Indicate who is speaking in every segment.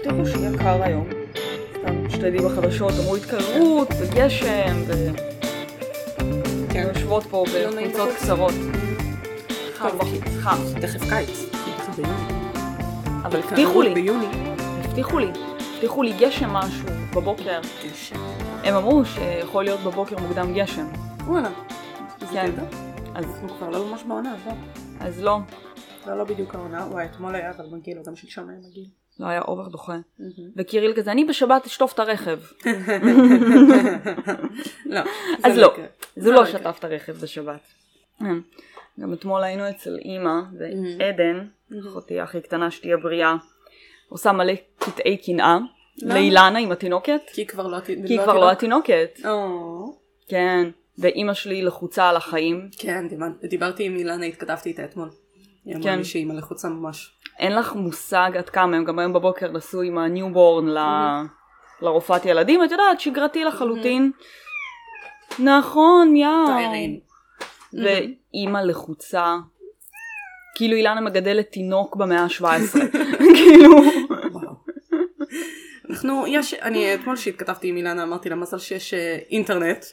Speaker 1: חשבנו שיהיה קר היום. סתם שתי די בחדשות, אמרו התקררות, וגשם, ו...
Speaker 2: כן.
Speaker 1: יושבות פה
Speaker 2: לא נעים
Speaker 1: בקבוצות
Speaker 2: בחוץ.
Speaker 1: קצרות.
Speaker 2: חם
Speaker 1: חם
Speaker 2: בחוץ.
Speaker 1: בחוץ, חם.
Speaker 2: תכף קיץ. זה ביוני.
Speaker 1: אבל
Speaker 2: כן,
Speaker 1: הבטיחו לי,
Speaker 2: ביוני.
Speaker 1: הבטיחו לי, הבטיחו לי גשם משהו בבוקר. הם אמרו שיכול להיות בבוקר מוקדם גשם.
Speaker 2: וואלה. איזה
Speaker 1: כן.
Speaker 2: קטע.
Speaker 1: אז,
Speaker 2: אנחנו כבר לא ממש בעונה, אז לא.
Speaker 1: אז לא,
Speaker 2: לא, לא בדיוק העונה. וואי, אתמול היה אבל מגעיל, או גם שלשום היה מגעיל.
Speaker 1: לא היה אובר דוחה. וקיריל כזה, אני בשבת אשטוף את הרכב.
Speaker 2: לא.
Speaker 1: אז
Speaker 2: זה
Speaker 1: לא,
Speaker 2: יקרה.
Speaker 1: אז הוא לא
Speaker 2: זה יקרה.
Speaker 1: שטף את הרכב בשבת. אה. גם אתמול היינו אצל אימא Mm-hmm.
Speaker 2: Mhm.
Speaker 1: ועדן,
Speaker 2: Mhm.
Speaker 1: אחותי הכי קטנה שתהיה בריאה, עושה מלא קטעי קנאה
Speaker 2: למה?
Speaker 1: לאילנה עם התינוקת,
Speaker 2: כי כבר לא... עתיד-
Speaker 1: לא. כי היא כבר לא התינוקת.
Speaker 2: או.
Speaker 1: כן, ואימא שלי לחוצה על החיים.
Speaker 2: כן, דיבר- דיברתי עם אילנה, התכתבתי איתה אתמול. היא אמרה
Speaker 1: כן.
Speaker 2: לי שהיא מלחוצה ממש.
Speaker 1: אין לך מושג עד כמה, הם גם היום בבוקר נסעו עם הניובורן ל... לרופאת ילדים, את יודעת, שגרתי לחלוטין. נכון, יאו.
Speaker 2: טיירין.
Speaker 1: ואימא לחוצה. כאילו אילנה מגדלת תינוק במאה ה-17. כאילו.
Speaker 2: וואו. אנחנו, יש, אני אתמול שהתכתבתי עם אילנה אמרתי לה מזל שיש אה, אינטרנט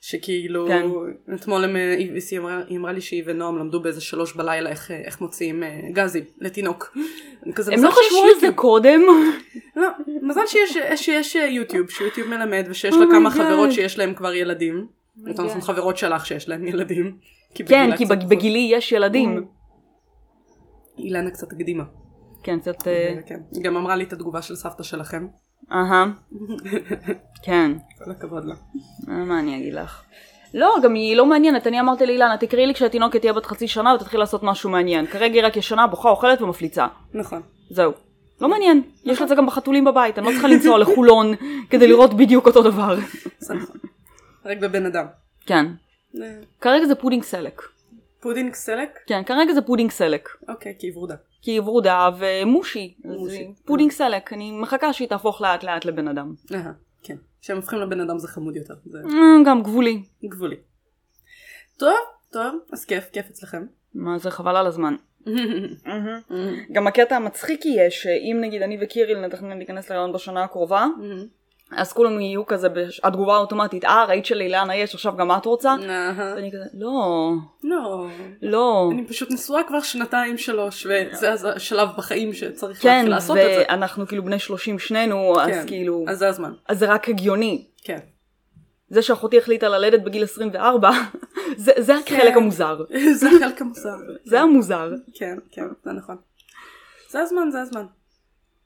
Speaker 2: שכאילו
Speaker 1: כן.
Speaker 2: אתמול הם, אה, היא- היא אמרה- היא אמרה לי שהיא ונועם למדו באיזה שלוש בלילה איך, אה, איך מוציאים אה, גזים לתינוק. אני כזה,
Speaker 1: הם
Speaker 2: "מזל
Speaker 1: לא
Speaker 2: שיש
Speaker 1: חשבו על זה
Speaker 2: יוטיוב."
Speaker 1: קודם?
Speaker 2: לא, מזל שיש, אה, שיש אה, יוטיוב, שיוטיוב מלמד ושיש
Speaker 1: Oh
Speaker 2: לה
Speaker 1: my
Speaker 2: כמה
Speaker 1: God. Oh
Speaker 2: חברות שיש להם כבר ילדים.
Speaker 1: my
Speaker 2: אותן
Speaker 1: God.
Speaker 2: גם חברות שלך שיש להם ילדים.
Speaker 1: כן,
Speaker 2: בגילה
Speaker 1: כי
Speaker 2: קצת
Speaker 1: בג-
Speaker 2: פחות.
Speaker 1: בגילי יש ילדים.
Speaker 2: אילנה קצת הקדימה.
Speaker 1: כן, קצת... אה,
Speaker 2: כן. היא גם אמרה לי את התגובה של סבתא שלכם.
Speaker 1: אהה. כן.
Speaker 2: כל הכבוד לה.
Speaker 1: אה, מה אני אגיד לך? לא, גם היא לא מעניינת. אני אמרתי לאילנה, תקראי לי כשהתינוקת תהיה בת חצי שנה ותתחיל לעשות משהו מעניין. כרגע היא רק ישנה, בוכה, אוכלת ומפליצה.
Speaker 2: נכון.
Speaker 1: זהו. לא מעניין. יש לה את זה גם בחתולים בבית, אני לא צריכה לנסוע לחולון כדי לראות בדיוק אותו דבר.
Speaker 2: זה נכון. רק בבן אדם.
Speaker 1: כן. כרגע זה פודינג סלק.
Speaker 2: פודינג סלק?
Speaker 1: כן, כרגע זה פודינג סלק.
Speaker 2: אוקיי, כי היא ורודה.
Speaker 1: כי היא ורודה ומושי. אז
Speaker 2: מושי.
Speaker 1: היא פודינג סלק, אני מחכה שהיא תהפוך לאט לאט לבן אדם.
Speaker 2: אהה, כן. כשהם הופכים לבן אדם זה חמוד יותר. זה
Speaker 1: אה, גם גבולי.
Speaker 2: גבולי. טוב, טוב, אז כיף, כיף אצלכם.
Speaker 1: מה זה חבל על הזמן. גם הקטע המצחיק יהיה שאם נגיד אני וקיריל נתכנן להיכנס להיריון בשנה הקרובה, אז כולם יהיו כזה, בש- התגובה האוטומטית, אה ראית שלאילנה יש, עכשיו גם את רוצה?
Speaker 2: אהה.
Speaker 1: ואני כזה, לא,
Speaker 2: לא.
Speaker 1: לא.
Speaker 2: אני פשוט נשואה כבר שנתיים שלוש, וזה אז השלב בחיים שצריך
Speaker 1: כן,
Speaker 2: להתחיל לעשות את זה.
Speaker 1: ואנחנו כאילו בני 30 שנינו, אז
Speaker 2: כן,
Speaker 1: כאילו,
Speaker 2: אז זה הזמן.
Speaker 1: אז זה רק הגיוני.
Speaker 2: כן.
Speaker 1: זה שאחותי החליטה ללדת בגיל 24, זה, זה
Speaker 2: כן.
Speaker 1: החלק המוזר.
Speaker 2: זה החלק המוזר.
Speaker 1: זה המוזר.
Speaker 2: כן, כן, זה נכון. זה הזמן, זה הזמן.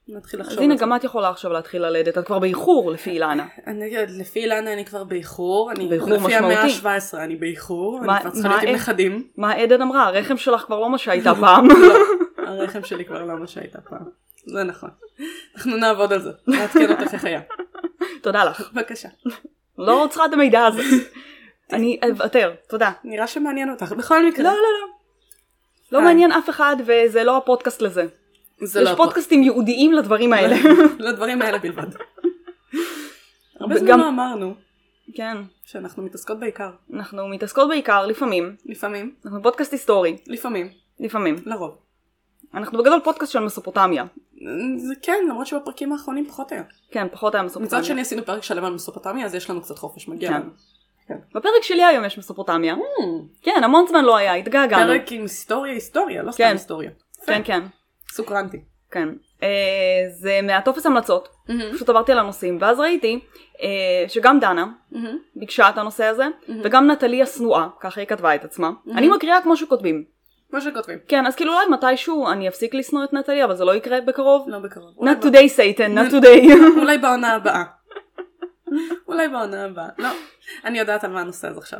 Speaker 2: נתחיל לחשוב.
Speaker 1: אז
Speaker 2: על
Speaker 1: הנה,
Speaker 2: זה.
Speaker 1: גם את יכולה עכשיו להתחיל ללדת, את כבר באיחור לפי אילנה.
Speaker 2: אני, לפי אילנה אני כבר באיחור, אני
Speaker 1: באיחור
Speaker 2: לפי המאה
Speaker 1: משמעותי.
Speaker 2: ה-17 אני באיחור,
Speaker 1: מה-
Speaker 2: אני כבר צריכה להיות
Speaker 1: מה-
Speaker 2: עם נכדים,
Speaker 1: מה עדן אמרה? הרחם שלך כבר לא מה שהייתה פעם.
Speaker 2: הרחם שלי כבר לא מה שהייתה פעם, זה נכון. אנחנו נעבוד על זה, נעדכן אותך איך היה.
Speaker 1: תודה לך.
Speaker 2: בבקשה.
Speaker 1: לא צריכה את המידע הזה. אני אוותר, תודה.
Speaker 2: נראה שמעניין אותך, בכל מקרה.
Speaker 1: לא, לא, לא. לא
Speaker 2: אה.
Speaker 1: מעניין אף אחד, וזה לא הפודקאסט לזה.
Speaker 2: זה
Speaker 1: יש
Speaker 2: לא הפודקאסט.
Speaker 1: פודקאסטים ייעודיים לדברים האלה.
Speaker 2: לדברים האלה בלבד. הרבה זמן
Speaker 1: גם-
Speaker 2: לא אמרנו
Speaker 1: כן,
Speaker 2: שאנחנו מתעסקות בעיקר,
Speaker 1: אנחנו מתעסקות בעיקר, לפעמים.
Speaker 2: לפעמים,
Speaker 1: אנחנו פודקאסט היסטורי,
Speaker 2: לפעמים,
Speaker 1: לפעמים.
Speaker 2: לרוב.
Speaker 1: אנחנו בגדול פודקאסט של מסופוטמיה.
Speaker 2: זה כן, למרות שבפרקים האחרונים פחות היה.
Speaker 1: כן, פחות היה
Speaker 2: מצד
Speaker 1: מסופוטמיה.
Speaker 2: שני עשינו פרק שלם על מסופוטמיה, אז יש לנו קצת חופש, מגיע
Speaker 1: כן.
Speaker 2: לנו.
Speaker 1: בפרק שלי היום יש מסופוטמיה.
Speaker 2: Hmm.
Speaker 1: כן, המון זמן לא היה, התגעגענו.
Speaker 2: פרק כן, עם היסטוריה, היסטוריה, לא סתם
Speaker 1: כן.
Speaker 2: היסטוריה.
Speaker 1: כן, כן,
Speaker 2: סוקרנתי.
Speaker 1: כן. אה, זה מהטופס המלצות. פשוט עברתי על הנושאים, ואז ראיתי אה, שגם דנה ביקשה את הנושא הזה, וגם נטלי השנואה, ככה היא כתבה את עצמה. אני מקריאה כמו שכותבים.
Speaker 2: כמו שכותבים.
Speaker 1: כן, אז כאילו אולי מתישהו אני אפסיק לשנוא את נטלי, אבל זה לא יקרה בקרוב.
Speaker 2: לא בקרוב. אולי
Speaker 1: Not
Speaker 2: ב-
Speaker 1: today, Satan, not today.
Speaker 2: אולי בעונה הבאה. אולי בעונה הבאה. לא. אני יודעת על מה הנושא הזה עכשיו.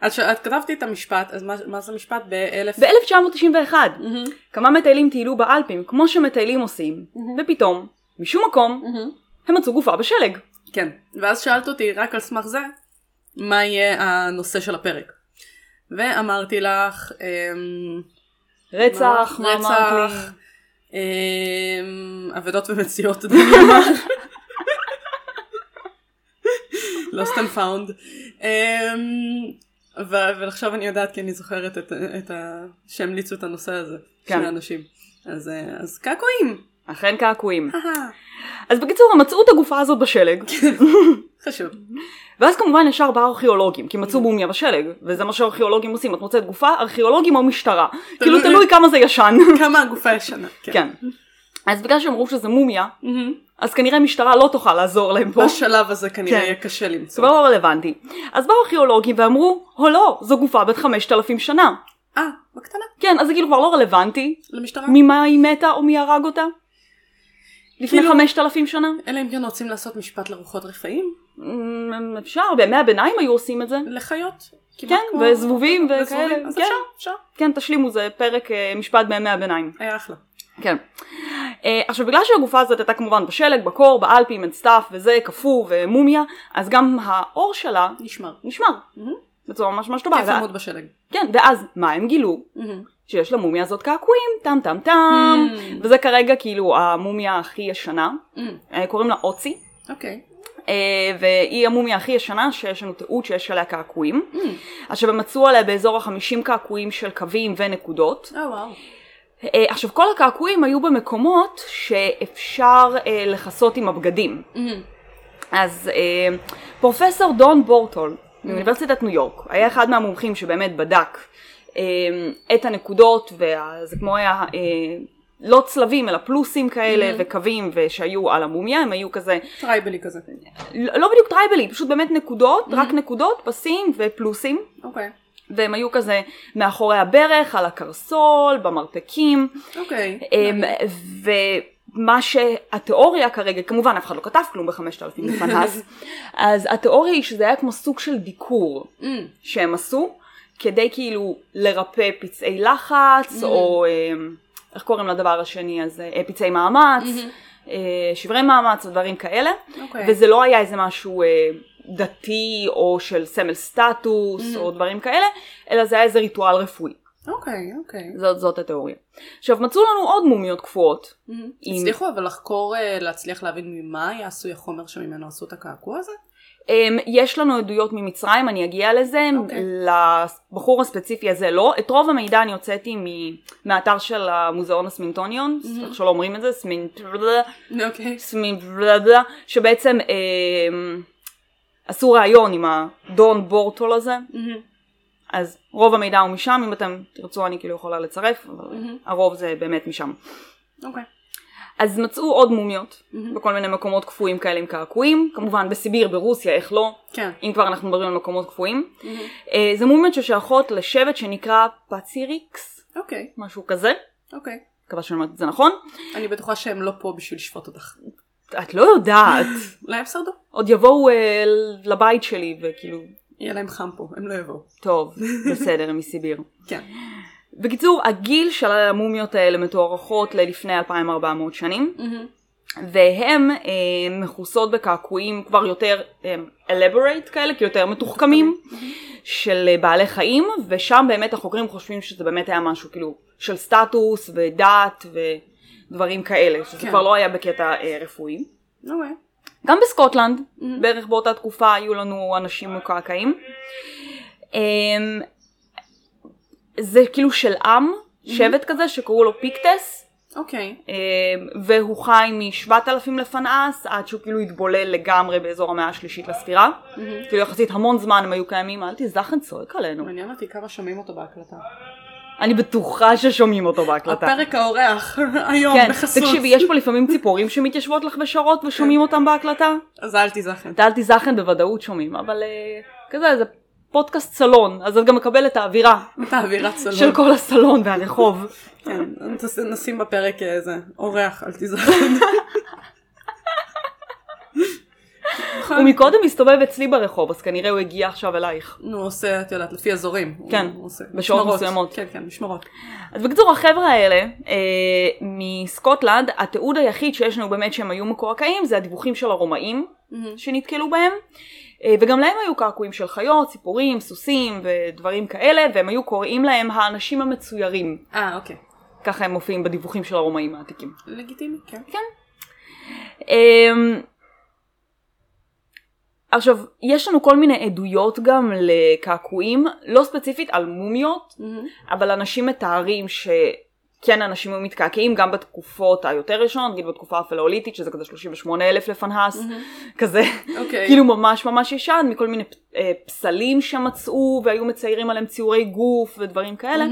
Speaker 2: אז ש- את כתבתי את המשפט, אז מה- מה זה משפט באלף...
Speaker 1: ב-1991,
Speaker 2: מהמם,
Speaker 1: כמה מטיילים טיילו באלפים, כמו שמטיילים עושים, ופתאום, משום מקום,
Speaker 2: מהמם.
Speaker 1: הם מצאו גופה בשלג.
Speaker 2: כן. ואז שאלת אותי רק על סמך זה, מה יהיה הנושא של הפרק. ואמרתי לך, אמ,
Speaker 1: רצח, מה
Speaker 2: רצח.
Speaker 1: אמרת לי?
Speaker 2: אמ, אבדות ומציאות, דני אמר. Lost and found. אמ, ו- ועכשיו אני יודעת כי אני זוכרת את- את ה... שהמליצו את הנושא הזה.
Speaker 1: כן.
Speaker 2: של האנשים. אז אה, אז קעקועים.
Speaker 1: אכן קעקועים. אז בקיצור, הם מצאו את הגופה הזאת בשלג,
Speaker 2: חשוב.
Speaker 1: ואז כמובן ישר באו ארכיאולוגים, כי מצאו מומיה בשלג, וזה מה שארכיאולוגים עושים, את מוצאת גופה, ארכיאולוגים או משטרה. כאילו תלוי כמה זה ישן.
Speaker 2: כמה הגופה ישנה.
Speaker 1: כן. אז בגלל שאמרו שזה מומיה, אז כנראה משטרה לא תוכל לעזור להם פה.
Speaker 2: בשלב הזה כנראה
Speaker 1: כן.
Speaker 2: יהיה קשה
Speaker 1: זה
Speaker 2: למצוא.
Speaker 1: לא רלוונטי. אז באו ארכיאולוגים ואמרו, או לא, זו גופה בת 5,000 שנה.
Speaker 2: אה, בקטנה,
Speaker 1: כן, אז זה כאילו כבר לא רלוונטי,
Speaker 2: למשטרה.
Speaker 1: ממה היא מתה או מי הרג אותה? לפני
Speaker 2: כאילו-
Speaker 1: 5,000 שנה?
Speaker 2: אלא אם כן רוצים לעשות משפט לרוחות רפאים,
Speaker 1: אמ, אפשר, בימי הביניים היו עושים את זה.
Speaker 2: לחיות. כמעט
Speaker 1: כן,
Speaker 2: כמו-
Speaker 1: וזבובים וכאלה.
Speaker 2: וזבובים, אז
Speaker 1: כן,
Speaker 2: אפשר, אפשר.
Speaker 1: כן, תשלימו, זה פרק אה, משפט בימי הביניים.
Speaker 2: היה אחלה.
Speaker 1: כן. אה, עכשיו בגלל שהגופה הזאת הייתה כמובן בשלג, בקור, באלפים, אין סטאף וזה, קפוא ומומיה, אז גם האור שלה
Speaker 2: נשמר.
Speaker 1: נשמר.
Speaker 2: מהמם.
Speaker 1: בצורה ממש ממש טובה.
Speaker 2: כיף
Speaker 1: ואז-
Speaker 2: למות בשלג.
Speaker 1: כן, ואז מה הם גילו?
Speaker 2: מהמם.
Speaker 1: שיש למומיה הזאת קעקועים, טם טם טם.
Speaker 2: Mm.
Speaker 1: וזה כרגע כאילו המומיה הכי ישנה,
Speaker 2: מהמם.
Speaker 1: אה, קוראים לה אוצי,
Speaker 2: אוקיי.
Speaker 1: אה, והיא המומיה הכי ישנה שיש לנו תיעוד שיש עליה קעקועים.
Speaker 2: מהמם.
Speaker 1: עכשיו הם מצאו עליה באזור החמישים קעקועים של קווים ונקודות.
Speaker 2: אה וואו.
Speaker 1: אה, עכשיו כל הקעקועים היו במקומות שאפשר אה, לכסות עם הבגדים.
Speaker 2: מהמם.
Speaker 1: אז אה, פרופסור דון בורטול מאוניברסיטת ניו יורק היה אחד מהמומחים שבאמת בדק אה, את הנקודות, וזה כמו היה אה, לא צלבים אלא פלוסים כאלה וקווים ושהיו על המומיה, הם היו כזה,
Speaker 2: טרייבלי כזה.
Speaker 1: לא לא בדיוק טרייבלי, פשוט באמת נקודות, רק נקודות, פסים ופלוסים.
Speaker 2: אוקיי.
Speaker 1: והם היו כזה מאחורי הברך, על הקרסול, במרפקים,
Speaker 2: אוקיי.
Speaker 1: אמ, ומה שהתיאוריה כרגע, כמובן אף אחד לא כתב כלום בחמשת אלפים לפניו, אז התיאוריה היא שזה היה כמו סוג של דיקור
Speaker 2: מהמם.
Speaker 1: שהם עשו, כדי כאילו לרפא פצעי לחץ, או אמ, איך קוראים לדבר השני הזה, אה, פצעי מאמץ, אה, שברי מאמץ ודברים כאלה,
Speaker 2: אוקיי.
Speaker 1: וזה לא היה איזה משהו אה, דתי או של סמל סטטוס או דברים כאלה, אלא זה היה איזה ריטואל רפואי.
Speaker 2: אוקיי, אוקיי.
Speaker 1: זאת, זאת התיאוריה. עכשיו מצאו לנו עוד מומיות קפואות.
Speaker 2: מהמם.
Speaker 1: עם-
Speaker 2: הצליחו אבל לחקור, אה, להצליח להבין ממה יעשוי החומר שממנו עשו את הקעקוע הזה?
Speaker 1: Um, יש לנו עדויות ממצרים, אני אגיע לזה, okay.
Speaker 2: אוקיי.
Speaker 1: לבחור הספציפי הזה לא. את רוב המידע אני הוצאתי מ- מהאתר של המוזיאון הסמינטוניון, mm-hmm. איך שלא אומרים את זה, סמינטרדה,
Speaker 2: אוקיי.
Speaker 1: סמינטרדה, שבעצם um, עשו ראיון עם הדון בורטול הזה,
Speaker 2: מהמם.
Speaker 1: אז רוב המידע הוא משם, אם אתם תרצו אני כאילו יכולה לצרף, אבל
Speaker 2: מהמם.
Speaker 1: הרוב זה באמת משם.
Speaker 2: אוקיי.
Speaker 1: אז מצאו עוד מומיות
Speaker 2: מהמם.
Speaker 1: בכל מיני מקומות קפואים כאלה עם קעקועים, כמובן בסיביר, ברוסיה, איך לא,
Speaker 2: כן.
Speaker 1: אם כבר אנחנו מדברים על מקומות קפואים.
Speaker 2: מהמם.
Speaker 1: אה, זה מומיות ששייכות לשבט שנקרא פציריקס,
Speaker 2: אוקיי.
Speaker 1: משהו כזה,
Speaker 2: אוקיי.
Speaker 1: מקווה שאני אומרת את זה נכון.
Speaker 2: אני בטוחה שהם לא פה בשביל לשפוט אותך.
Speaker 1: את לא יודעת,
Speaker 2: אולי הם שרדו?
Speaker 1: עוד יבואו אה, לבית שלי וכאילו,
Speaker 2: יהיה להם חם פה, הם לא יבואו.
Speaker 1: טוב, בסדר, הם מסיביר.
Speaker 2: כן.
Speaker 1: בקיצור, הגיל של המומיות האלה מתוארכות ללפני 2400 שנים. והן אה, מכוסות בקעקועים כבר יותר אה, elaborate כאלה, כי יותר מתוחכמים, של אה, בעלי חיים, ושם באמת החוקרים חושבים שזה באמת היה משהו כאילו של סטטוס ודת ודברים כאלה, שזה
Speaker 2: כן.
Speaker 1: כבר לא היה בקטע אה, רפואי.
Speaker 2: אוקיי.
Speaker 1: גם בסקוטלנד, בערך באותה תקופה היו לנו אנשים מוקעקעים. אה, זה כאילו של עם, שבט כזה, שקראו לו פיקטס.
Speaker 2: אוקיי.
Speaker 1: אמ, והוא חי מ-7,000 לפנאס עד שהוא כאילו התבולל לגמרי באזור המאה השלישית לספירה. כאילו יחסית המון זמן הם היו קיימים, אל תזדחן צועק עלינו.
Speaker 2: מעניין אותי כמה שומעים אותו בהקלטה.
Speaker 1: אני בטוחה ששומעים אותו בהקלטה.
Speaker 2: הפרק האורח, היום,
Speaker 1: כן,
Speaker 2: בחסות.
Speaker 1: תקשיבי, יש פה לפעמים ציפורים שמתיישבות לך בשרות ושומעים אותם בהקלטה?
Speaker 2: אז אל תיזכר.
Speaker 1: את אל תזדחן בוודאות שומעים, אבל אה, כזה, זה פודקאסט סלון, אז את גם מקבלת את האווירה
Speaker 2: את האווירת סלון.
Speaker 1: של כל הסלון והרחוב.
Speaker 2: כן, תס- נשים בפרק איזה, אורח, אל תיזכר.
Speaker 1: הוא מקודם הסתובב אצלי ברחוב, אז כנראה הוא הגיע עכשיו אלייך.
Speaker 2: נו, הוא עושה, את יודעת, לפי אזורים. הוא
Speaker 1: כן,
Speaker 2: עושה.
Speaker 1: בשעות
Speaker 2: משמרות.
Speaker 1: מסוימות.
Speaker 2: כן, כן, משמרות.
Speaker 1: אז בקיצור החבר'ה האלה אה, מסקוטלנד, התיעוד היחיד שיש לנו באמת שהם היו מקועקעים זה הדיווחים של הרומאים שנתקלו בהם, אה, וגם להם היו קעקועים של חיות, ציפורים, סוסים ודברים כאלה, והם היו קוראים להם האנשים המצוירים,
Speaker 2: אה, אוקיי.
Speaker 1: ככה הם מופיעים בדיווחים של הרומאים העתיקים.
Speaker 2: לגיטימי, כן.
Speaker 1: אמ, עכשיו, יש לנו כל מיני עדויות גם לקעקועים, לא ספציפית על מומיות, אבל אנשים מתארים כן אנשים היו מתקעקעים גם בתקופות היותר ראשונות, נגיד בתקופה הפלאוליטית שזה כזה 38 אלף לפנהס, כזה,
Speaker 2: אוקיי.
Speaker 1: כאילו ממש ממש ישן, מכל מיני פ- אה, פסלים שמצאו והיו מציירים עליהם ציורי גוף ודברים כאלה.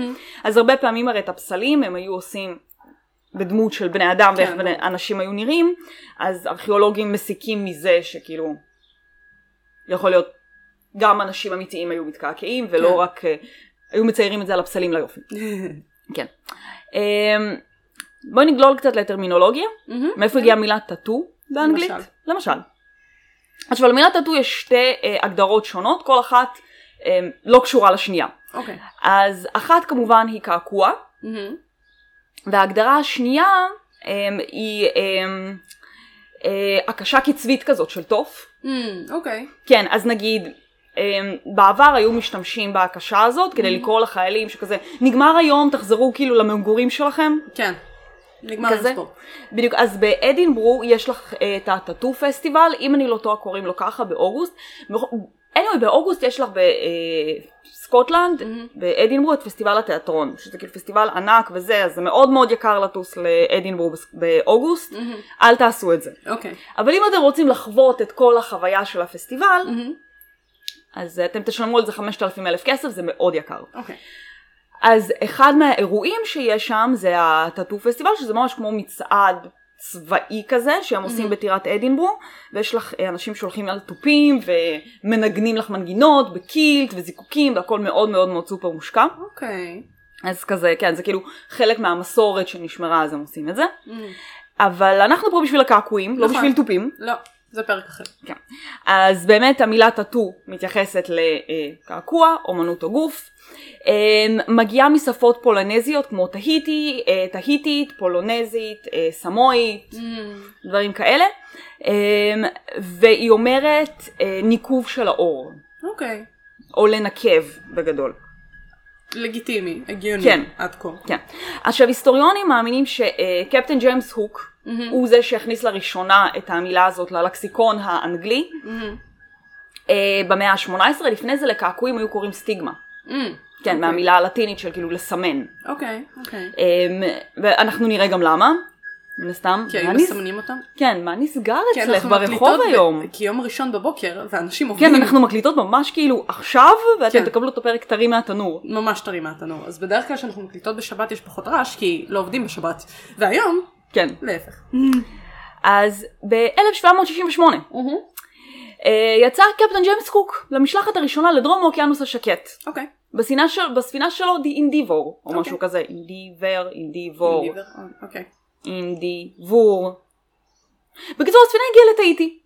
Speaker 1: אז הרבה פעמים הרי את הפסלים הם היו עושים בדמות של בני אדם ואיך
Speaker 2: כן,
Speaker 1: בני- אנשים היו נראים, אז ארכיאולוגים מסיקים מזה שכאילו יכול להיות גם אנשים אמיתיים היו מתקעקעים ולא
Speaker 2: כן.
Speaker 1: רק, אה, היו מציירים את זה על הפסלים ליופי. כן. אמ, בואי נגלול קצת לטרמינולוגיה, מאיפה הגיעה המילה טאטו באנגלית?
Speaker 2: למשל.
Speaker 1: למשל. עכשיו למילה טאטו יש שתי אה, הגדרות שונות, כל אחת אמ, לא קשורה לשנייה.
Speaker 2: אוקיי.
Speaker 1: אז אחת כמובן היא קעקוע, וההגדרה השנייה אמ, היא אמ, אה, הקשה קצבית כזאת של תוף.
Speaker 2: אמ, אוקיי.
Speaker 1: כן, אז נגיד, אמ, בעבר היו משתמשים בהקשה הזאת כדי לקרוא לחיילים שכזה, נגמר היום, תחזרו כאילו למגורים שלכם.
Speaker 2: כן. נגמר
Speaker 1: כזה?
Speaker 2: הספורט.
Speaker 1: בדיוק, אז באדינברו יש לך אה, את הטאטו פסטיבל, אם אני לא טועה קוראים לו ככה, באוגוסט. anyway, באוגוסט יש לך בסקוטלנד,
Speaker 2: מהמם.
Speaker 1: באדינברו, את פסטיבל התיאטרון, שזה כאילו פסטיבל ענק וזה, אז זה מאוד מאוד יקר לטוס לאדינברו בס- באוגוסט,
Speaker 2: מהמם.
Speaker 1: אל תעשו את זה.
Speaker 2: אוקיי.
Speaker 1: אבל אם אתם רוצים לחוות את כל החוויה של הפסטיבל,
Speaker 2: מהמם.
Speaker 1: אז אתם תשלמו על זה 5,000 אלף כסף, זה מאוד יקר.
Speaker 2: אוקיי.
Speaker 1: אז אחד מהאירועים שיש שם זה הטאטו פסטיבל, שזה ממש כמו מצעד צבאי כזה, שהם עושים בטירת אדינברו, ויש לך אה, אנשים שהולכים על תופים ומנגנים לך מנגינות בקילט וזיקוקים, והכל מאוד מאוד מאוד סופר מושקע.
Speaker 2: אוקיי.
Speaker 1: אז כזה, כן, זה כאילו חלק מהמסורת שנשמרה, אז הם עושים את זה.
Speaker 2: אמ,
Speaker 1: אבל אנחנו פה בשביל הקעקועים, לא
Speaker 2: נכון.
Speaker 1: בשביל תופים.
Speaker 2: לא, זה פרק אחר.
Speaker 1: אז באמת המילה טאטו מתייחסת לקעקוע, אומנות או גוף. אמ, מגיעה משפות פולנזיות כמו טהיטי, אה, טהיטית, פולונזית, אה, סמואית,
Speaker 2: אמ,
Speaker 1: דברים כאלה. אמ, והיא אומרת אה, ניקוב של האור,
Speaker 2: אוקיי.
Speaker 1: או לנקב בגדול.
Speaker 2: לגיטימי, הגיוני.
Speaker 1: כן.
Speaker 2: עד כה.
Speaker 1: כן. עכשיו היסטוריונים מאמינים שקפטן ג'יימס הוק
Speaker 2: מהמם.
Speaker 1: הוא זה שהכניס לראשונה את המילה הזאת ללקסיקון האנגלי
Speaker 2: מהמם.
Speaker 1: אה, במאה ה-18, לפני זה לקעקועים היו קוראים סטיגמה.
Speaker 2: אמ,
Speaker 1: כן, מהמילה הלטינית של כאילו לסמן.
Speaker 2: אוקיי, אוקיי.
Speaker 1: אמ, ואנחנו נראה גם למה, מן הסתם. מה
Speaker 2: כי היו
Speaker 1: נס-
Speaker 2: מסמנים אותם?
Speaker 1: כן, מה נסגר
Speaker 2: כי
Speaker 1: אצלך
Speaker 2: אנחנו
Speaker 1: ברחוב
Speaker 2: מקליטות ב-
Speaker 1: היום?
Speaker 2: כי יום ראשון בבוקר, ואנשים עובדים.
Speaker 1: כן, אנחנו מקליטות ממש כאילו עכשיו, ואתם
Speaker 2: כן.
Speaker 1: תקבלו את הפרק טרי מהתנור.
Speaker 2: ממש טרי מהתנור. אז בדרך כלל כשאנחנו מקליטות בשבת יש פחות רעש, כי לא עובדים בשבת. והיום,
Speaker 1: כן.
Speaker 2: להפך.
Speaker 1: אז ב-1768 אה, יצא קפטן ג'יימס קוק למשלחת הראשונה לדרום האוקיינוס השקט.
Speaker 2: אוקיי.
Speaker 1: בספינה, של, בספינה שלו די אינדיבור, או
Speaker 2: אוקיי.
Speaker 1: משהו כזה, אינדיבר, אינדיבור,
Speaker 2: ליבר, אוקיי.
Speaker 1: אינדיבור. בקיצור, הספינה הגיעה לטהיטי,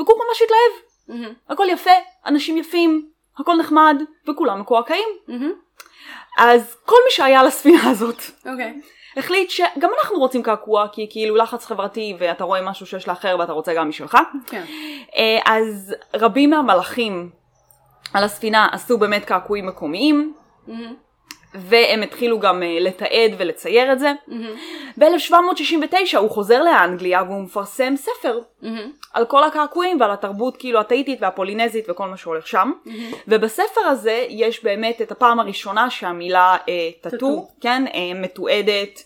Speaker 1: וקוק ממש התלהב. הכל יפה, אנשים יפים, הכל נחמד, וכולם מקועקעים. אז כל מי שהיה על הספינה הזאת
Speaker 2: אוקיי.
Speaker 1: החליט שגם אנחנו רוצים קעקוע, כי כאילו לחץ חברתי ואתה רואה משהו שיש לאחר ואתה רוצה גם משלך.
Speaker 2: כן.
Speaker 1: אה, אז רבים מהמלכים על הספינה עשו באמת קעקועים מקומיים,
Speaker 2: מהמם,
Speaker 1: והם התחילו גם אה, לתעד ולצייר את זה.
Speaker 2: מהמם,
Speaker 1: ב-1769 הוא חוזר לאנגליה והוא מפרסם ספר
Speaker 2: מהמם,
Speaker 1: על כל הקעקועים ועל התרבות כאילו התאיטית והפולינזית וכל מה שהולך שם.
Speaker 2: מהמם.
Speaker 1: ובספר הזה יש באמת את הפעם הראשונה שהמילה אה, טאטו,
Speaker 2: טאטו.
Speaker 1: כן, אה, מתועדת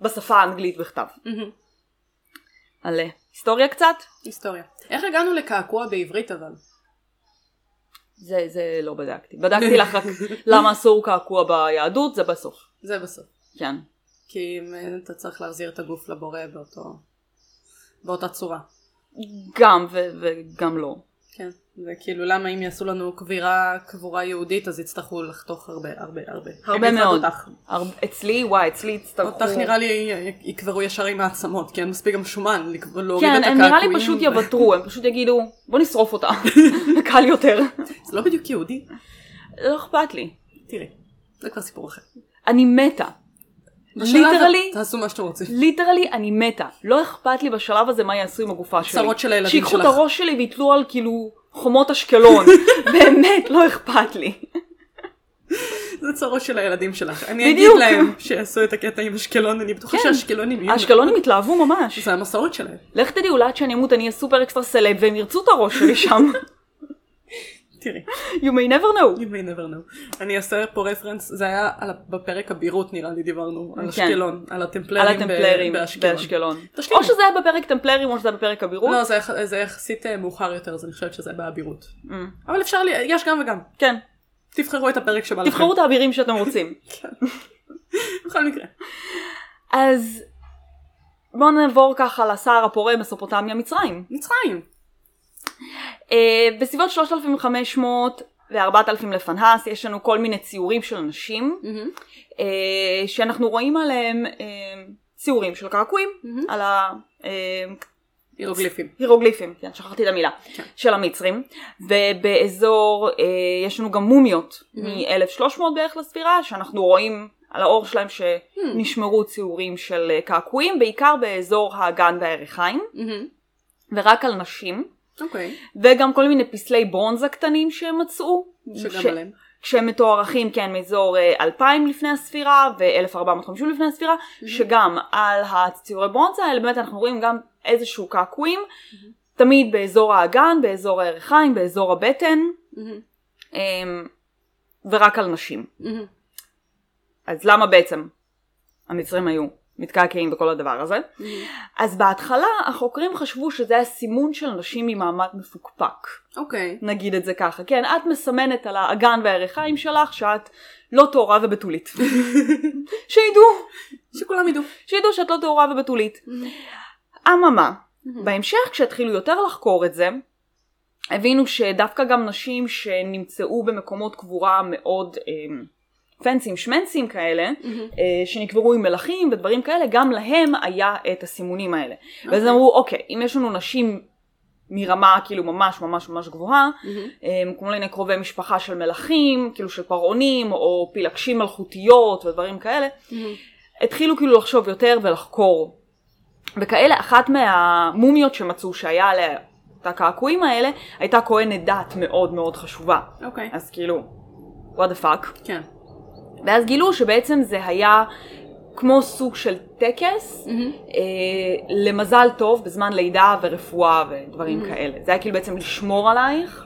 Speaker 1: בשפה האנגלית בכתב.
Speaker 2: מהמם.
Speaker 1: על אה, היסטוריה קצת?
Speaker 2: היסטוריה. איך הגענו לקעקוע בעברית אבל?
Speaker 1: זה, זה לא בדקתי. בדקתי לך רק למה אסור קעקוע ביהדות, זה בסוף.
Speaker 2: זה בסוף.
Speaker 1: כן.
Speaker 2: כי אם אין, אתה צריך להחזיר את הגוף לבורא באותו... באותה צורה.
Speaker 1: גם ו- וגם לא.
Speaker 2: כן. זה כאילו למה אם יעשו לנו קבירה, קבורה יהודית אז יצטרכו לחתוך הרבה הרבה הרבה.
Speaker 1: הרבה
Speaker 2: במיוחד
Speaker 1: מאוד.
Speaker 2: אותך.
Speaker 1: הרבה, אצלי, וואי, אצלי הצטרכו...
Speaker 2: אותך נראה לי יקברו ישר עם העצמות, כי אין מספיק גם שומן לקב- להוריד את
Speaker 1: כן, הם
Speaker 2: הקעקועים.
Speaker 1: נראה לי פשוט יוותרו, הם פשוט יגידו, בוא נשרוף אותה, קל יותר.
Speaker 2: זה לא בדיוק יהודי.
Speaker 1: לא אכפת לי.
Speaker 2: תראי, זה כבר סיפור אחר.
Speaker 1: אני מתה.
Speaker 2: בשלב הזה
Speaker 1: ליטרלי,
Speaker 2: תעשו מה שאתם רוצים.
Speaker 1: ליטרלי אני מתה. לא אכפת לי בשלב הזה מה יעשו עם הגופה שלי.
Speaker 2: צרות של הילדים
Speaker 1: שיקחו את
Speaker 2: שלך.
Speaker 1: הראש שלי ויתלו על כאילו חומות אשקלון. באמת, לא אכפת לי.
Speaker 2: זה צרות של הילדים שלך. אני אגיד
Speaker 1: בדיוק.
Speaker 2: להם שיעשו את הקטע עם אשקלון, אני בטוחה
Speaker 1: כן.
Speaker 2: שהאשקלונים יהיו...
Speaker 1: האשקלונים התלהבו ממש.
Speaker 2: זה המסורת שלהם.
Speaker 1: לך תדעי, אולי עד שאני אמות אני אהיה סופר אקסטרה סלב והם ירצו את הראש שלי שם.
Speaker 2: תראי.
Speaker 1: You may never know.
Speaker 2: You may never know. אני אעשה פה רפרנס, זה היה על ה- בפרק הבירות נראה לי דיברנו, על
Speaker 1: כן.
Speaker 2: אשקלון, על הטמפלרים,
Speaker 1: על
Speaker 2: ב-
Speaker 1: הטמפלרים
Speaker 2: באשקלון.
Speaker 1: באשקלון.
Speaker 2: תשלימי.
Speaker 1: או שזה היה בפרק טמפלרים או שזה היה בפרק הבירות.
Speaker 2: לא, זה יח- זה יחסית אה, מאוחר יותר, אז אני חושבת שזה באבירות.
Speaker 1: Mm.
Speaker 2: אבל אפשר, לי- יש גם וגם.
Speaker 1: כן.
Speaker 2: לא תבחרו את הפרק שבא לכם.
Speaker 1: תבחרו את האבירים שאתם רוצים.
Speaker 2: בכל מקרה.
Speaker 1: אז בואו נעבור ככה לסהר הפורה מסופוטמיה מצרים.
Speaker 2: מצרים.
Speaker 1: אה, בסביבות 3500 ו-4000 לפנהס יש לנו כל מיני ציורים של אנשים אה, שאנחנו רואים עליהם אה, ציורים של קעקועים
Speaker 2: מהמם.
Speaker 1: על ה... אה,
Speaker 2: הירוגליפים.
Speaker 1: הירוגליפים, כן, שכחתי את המילה,
Speaker 2: כן.
Speaker 1: של המצרים, ובאזור אה, יש לנו גם מומיות
Speaker 2: מהמם.
Speaker 1: מ-1300 בערך לספירה, שאנחנו רואים על האור שלהם שנשמרו ציורים של אה, קעקועים, בעיקר באזור האגן והירכיים,
Speaker 2: מהמם.
Speaker 1: ורק על נשים,
Speaker 2: אוקיי.
Speaker 1: וגם כל מיני פסלי ברונזה קטנים שהם מצאו. ש-
Speaker 2: שגם עליהם.
Speaker 1: כשהם מתוארכים כן מאזור אה, 2,000 לפני הספירה ו-1450 לפני הספירה, שגם על הציורי ברונזה האלה באמת אנחנו רואים גם איזשהו קעקועים, תמיד באזור האגן, באזור הירכיים, באזור הבטן,
Speaker 2: מהמם.
Speaker 1: אה, ורק על נשים.
Speaker 2: מהמם.
Speaker 1: Mm-hmm. אז למה בעצם המצרים היו מתקעקעים בכל הדבר הזה? אז בהתחלה החוקרים חשבו שזה היה סימון של נשים ממעמד מפוקפק.
Speaker 2: אוקיי.
Speaker 1: נגיד את זה ככה, כן, את מסמנת על האגן והירכיים שלך שאת לא טהורה ובתולית. שידעו,
Speaker 2: שכולם ידעו.
Speaker 1: שידעו שאת לא טהורה ובתולית. אממה, בהמשך כשהתחילו יותר לחקור את זה, הבינו שדווקא גם נשים שנמצאו במקומות קבורה מאוד אמ, פנסים שמנסים כאלה, אה, שנקברו עם מלכים ודברים כאלה, גם להם היה את הסימונים האלה. ואז
Speaker 2: אוקיי.
Speaker 1: אמרו, אוקיי, אם יש לנו נשים מרמה כאילו ממש ממש ממש גבוהה,
Speaker 2: מהמם.
Speaker 1: הם כל מיני קרובי משפחה של מלכים, כאילו של פרעונים, או פילגשים מלכותיות ודברים כאלה,
Speaker 2: מהמם.
Speaker 1: התחילו כאילו לחשוב יותר ולחקור. וכאלה, אחת מהמומיות שמצאו שהיה עליה את הקעקועים האלה, הייתה כהנת דת מאוד מאוד חשובה.
Speaker 2: אוקיי.
Speaker 1: אז כאילו, what the fuck.
Speaker 2: כן.
Speaker 1: ואז גילו שבעצם זה היה כמו סוג של טקס,
Speaker 2: מהמם.
Speaker 1: אה, למזל טוב בזמן לידה ורפואה ודברים כאלה. זה היה כאילו בעצם לשמור עלייך,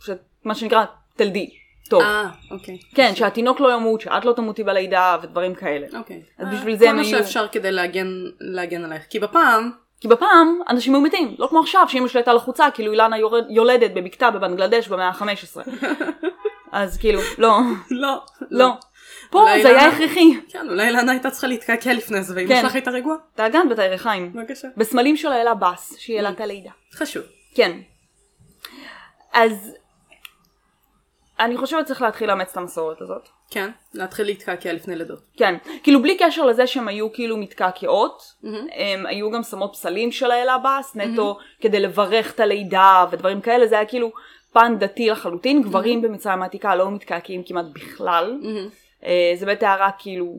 Speaker 1: שאת, מה שנקרא, תלדי. טוב.
Speaker 2: אה, אוקיי.
Speaker 1: כן, שהתינוק לא ימות, שאת לא תמותי בלידה ודברים כאלה.
Speaker 2: אוקיי.
Speaker 1: אז
Speaker 2: אה,
Speaker 1: בשביל זה
Speaker 2: כל
Speaker 1: הם
Speaker 2: מה
Speaker 1: היו-
Speaker 2: שאפשר כדי להגן- להגן עלייך. כי בפעם,
Speaker 1: כי בפעם אנשים היו מתים, לא כמו עכשיו, שאמא שלי הייתה לחוצה, כאילו אילנה יורד- יולדת בבקתה בבנגלדש במאה ה-15. אז כאילו, לא,
Speaker 2: לא.
Speaker 1: לא. פה
Speaker 2: אולי
Speaker 1: זה היה
Speaker 2: אילנה-
Speaker 1: הכרחי.
Speaker 2: כן, אולי אילנה הייתה צריכה להתקעקע לפני זה, ואמא
Speaker 1: כן.
Speaker 2: שלך הייתה רגועה.
Speaker 1: את האגן ואת הירכיים.
Speaker 2: בבקשה.
Speaker 1: בסמלים של אלה בס, שהיא העלה את הלידה.
Speaker 2: חשוב.
Speaker 1: כן. אז אני חושבת שצריך להתחיל לאמץ את המסורת הזאת.
Speaker 2: כן, להתחיל להתקעקע לפני לידות.
Speaker 1: כן, כאילו בלי קשר לזה שהן היו כאילו מתקעקעות,
Speaker 2: מהמם.
Speaker 1: הם היו גם שמות פסלים של האל הבאס, נטו כדי לברך את הלידה ודברים כאלה, זה היה כאילו פן דתי לחלוטין, גברים במצרים העתיקה לא מתקעקעים כמעט בכלל,
Speaker 2: מהמם.
Speaker 1: אה, זה באמת היה רק כאילו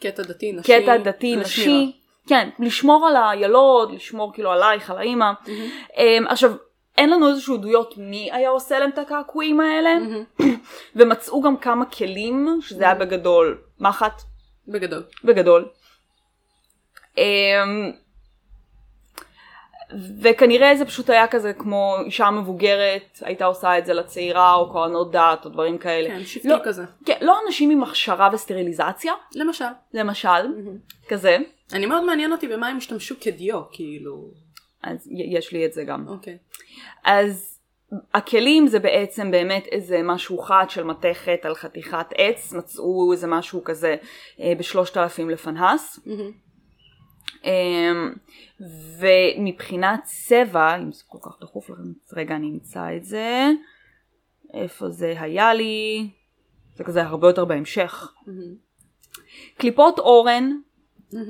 Speaker 2: קטע דתי, נשי. אה,
Speaker 1: קטע דתי
Speaker 2: לשמירה.
Speaker 1: נשי, כן, לשמור על הילוד, לשמור כאילו עלייך, על האימא. אמ, עכשיו, אין לנו איזשהו עדויות מי היה עושה להם את הקעקועים האלה, ומצאו גם כמה כלים, שזה היה בגדול מחט,
Speaker 2: בגדול.
Speaker 1: בגדול. אמ, וכנראה זה פשוט היה כזה כמו אישה מבוגרת הייתה עושה את זה לצעירה או כהנות דת או דברים כאלה.
Speaker 2: כן, שבטי
Speaker 1: לא,
Speaker 2: כזה.
Speaker 1: כן, לא אנשים עם הכשרה וסטריליזציה,
Speaker 2: למשל.
Speaker 1: למשל, כזה,
Speaker 2: אני מאוד מעניין אותי במה הם השתמשו כדיו, כאילו...
Speaker 1: אז י- יש לי את זה גם.
Speaker 2: אוקיי.
Speaker 1: אז הכלים זה בעצם באמת איזה משהו חד של מתכת על חתיכת עץ, מצאו איזה משהו כזה אה, בשלושת אלפים לפנהס. אמ, ומבחינת צבע, אם זה כל כך דחוף לכם, אז רגע אני אמצא את זה. איפה זה היה לי? זה כזה הרבה יותר בהמשך. קליפות אורן,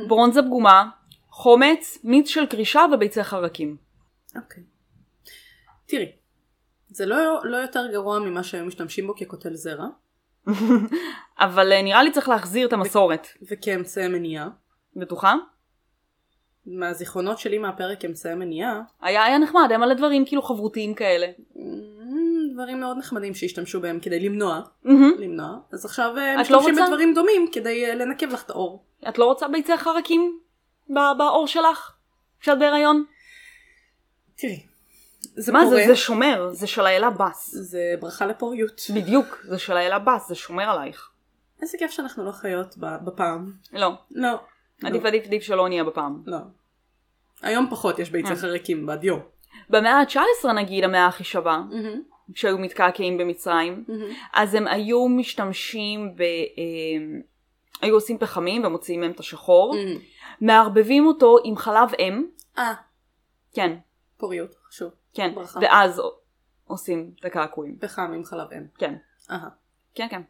Speaker 1: ברונזה פגומה, חומץ, מיץ של קרישה וביצי חרקים.
Speaker 2: אוקיי. תראי, זה לא, לא יותר גרוע ממה שהיו משתמשים בו כקוטל זרע,
Speaker 1: אבל אה, נראה לי צריך להחזיר את המסורת.
Speaker 2: וכאמצעי מניעה.
Speaker 1: בטוחה?
Speaker 2: מהזיכרונות שלי מהפרק אמצעי מניעה,
Speaker 1: היה, היה נחמד, היה מלא דברים כאילו חברותיים כאלה.
Speaker 2: אמ, דברים מאוד נחמדים שהשתמשו בהם כדי למנוע,
Speaker 1: מהמם.
Speaker 2: למנוע. אז עכשיו אה,
Speaker 1: את לא
Speaker 2: משתמשים
Speaker 1: רוצה?
Speaker 2: בדברים דומים כדי אה, לנקב לך את האור.
Speaker 1: את לא רוצה ביצי חרקים ב- בעור שלך? כשאת בהיריון?
Speaker 2: תראי, זה
Speaker 1: מה זה?
Speaker 2: פורה.
Speaker 1: זה שומר, זה של האלה בס.
Speaker 2: זה ברכה לפוריות.
Speaker 1: בדיוק, זה של האלה בס, זה שומר עלייך.
Speaker 2: איזה כיף שאנחנו לא חיות ב- בפעם.
Speaker 1: לא,
Speaker 2: לא.
Speaker 1: עדיף עדיף עדיף שלא נהיה בפעם.
Speaker 2: לא. היום פחות יש ביצי
Speaker 1: אה.
Speaker 2: חרקים בדיו.
Speaker 1: במאה ה-19 נגיד המאה הכי שווה, שהיו מתקעקעים במצרים, אז הם היו משתמשים ב... אה, היו עושים פחמים ומוציאים מהם את השחור, מערבבים אותו עם חלב אם,
Speaker 2: אה,
Speaker 1: כן,
Speaker 2: פוריות, חשוב.
Speaker 1: כן,
Speaker 2: ברכה.
Speaker 1: ואז עושים את הקעקועים,
Speaker 2: פחם עם חלב אם.
Speaker 1: כן,
Speaker 2: אהה.
Speaker 1: כן, כן.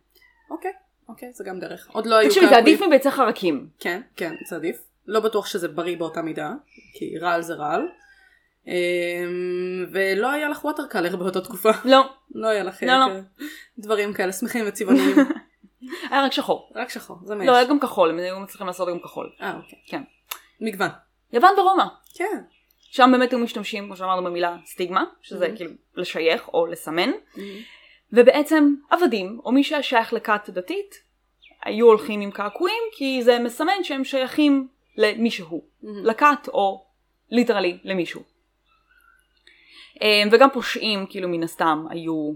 Speaker 2: אוקיי, אוקיי, זה גם דרך. עוד לא היו
Speaker 1: תקשיבי, זה
Speaker 2: קעקועים.
Speaker 1: עדיף מביצי חרקים.
Speaker 2: כן, כן, זה עדיף. לא בטוח שזה בריא באותה מידה, כי רעל זה רעל. אמ, ולא היה לך ווטר קלר באותה תקופה.
Speaker 1: לא,
Speaker 2: לא היה לך
Speaker 1: לא, לא.
Speaker 2: אה, דברים כאלה שמחים וצבעוניים.
Speaker 1: היה רק שחור.
Speaker 2: רק שחור, זה מה
Speaker 1: לא, היה
Speaker 2: יש.
Speaker 1: גם כחול, הם היו מצליחים לעשות גם כחול.
Speaker 2: אה, אוקיי.
Speaker 1: כן.
Speaker 2: מגוון.
Speaker 1: יוון ורומא,
Speaker 2: כן.
Speaker 1: שם באמת היו משתמשים, כמו שאמרנו, במילה סטיגמה, שזה
Speaker 2: Mhm.
Speaker 1: כאילו לשייך או לסמן, ובעצם עבדים, או מי שהיה שייך לכת דתית, היו הולכים עם קעקועים, כי זה מסמן שהם שייכים למישהו, לכת או ליטרלי למישהו. אה, וגם פושעים, כאילו מן הסתם, היו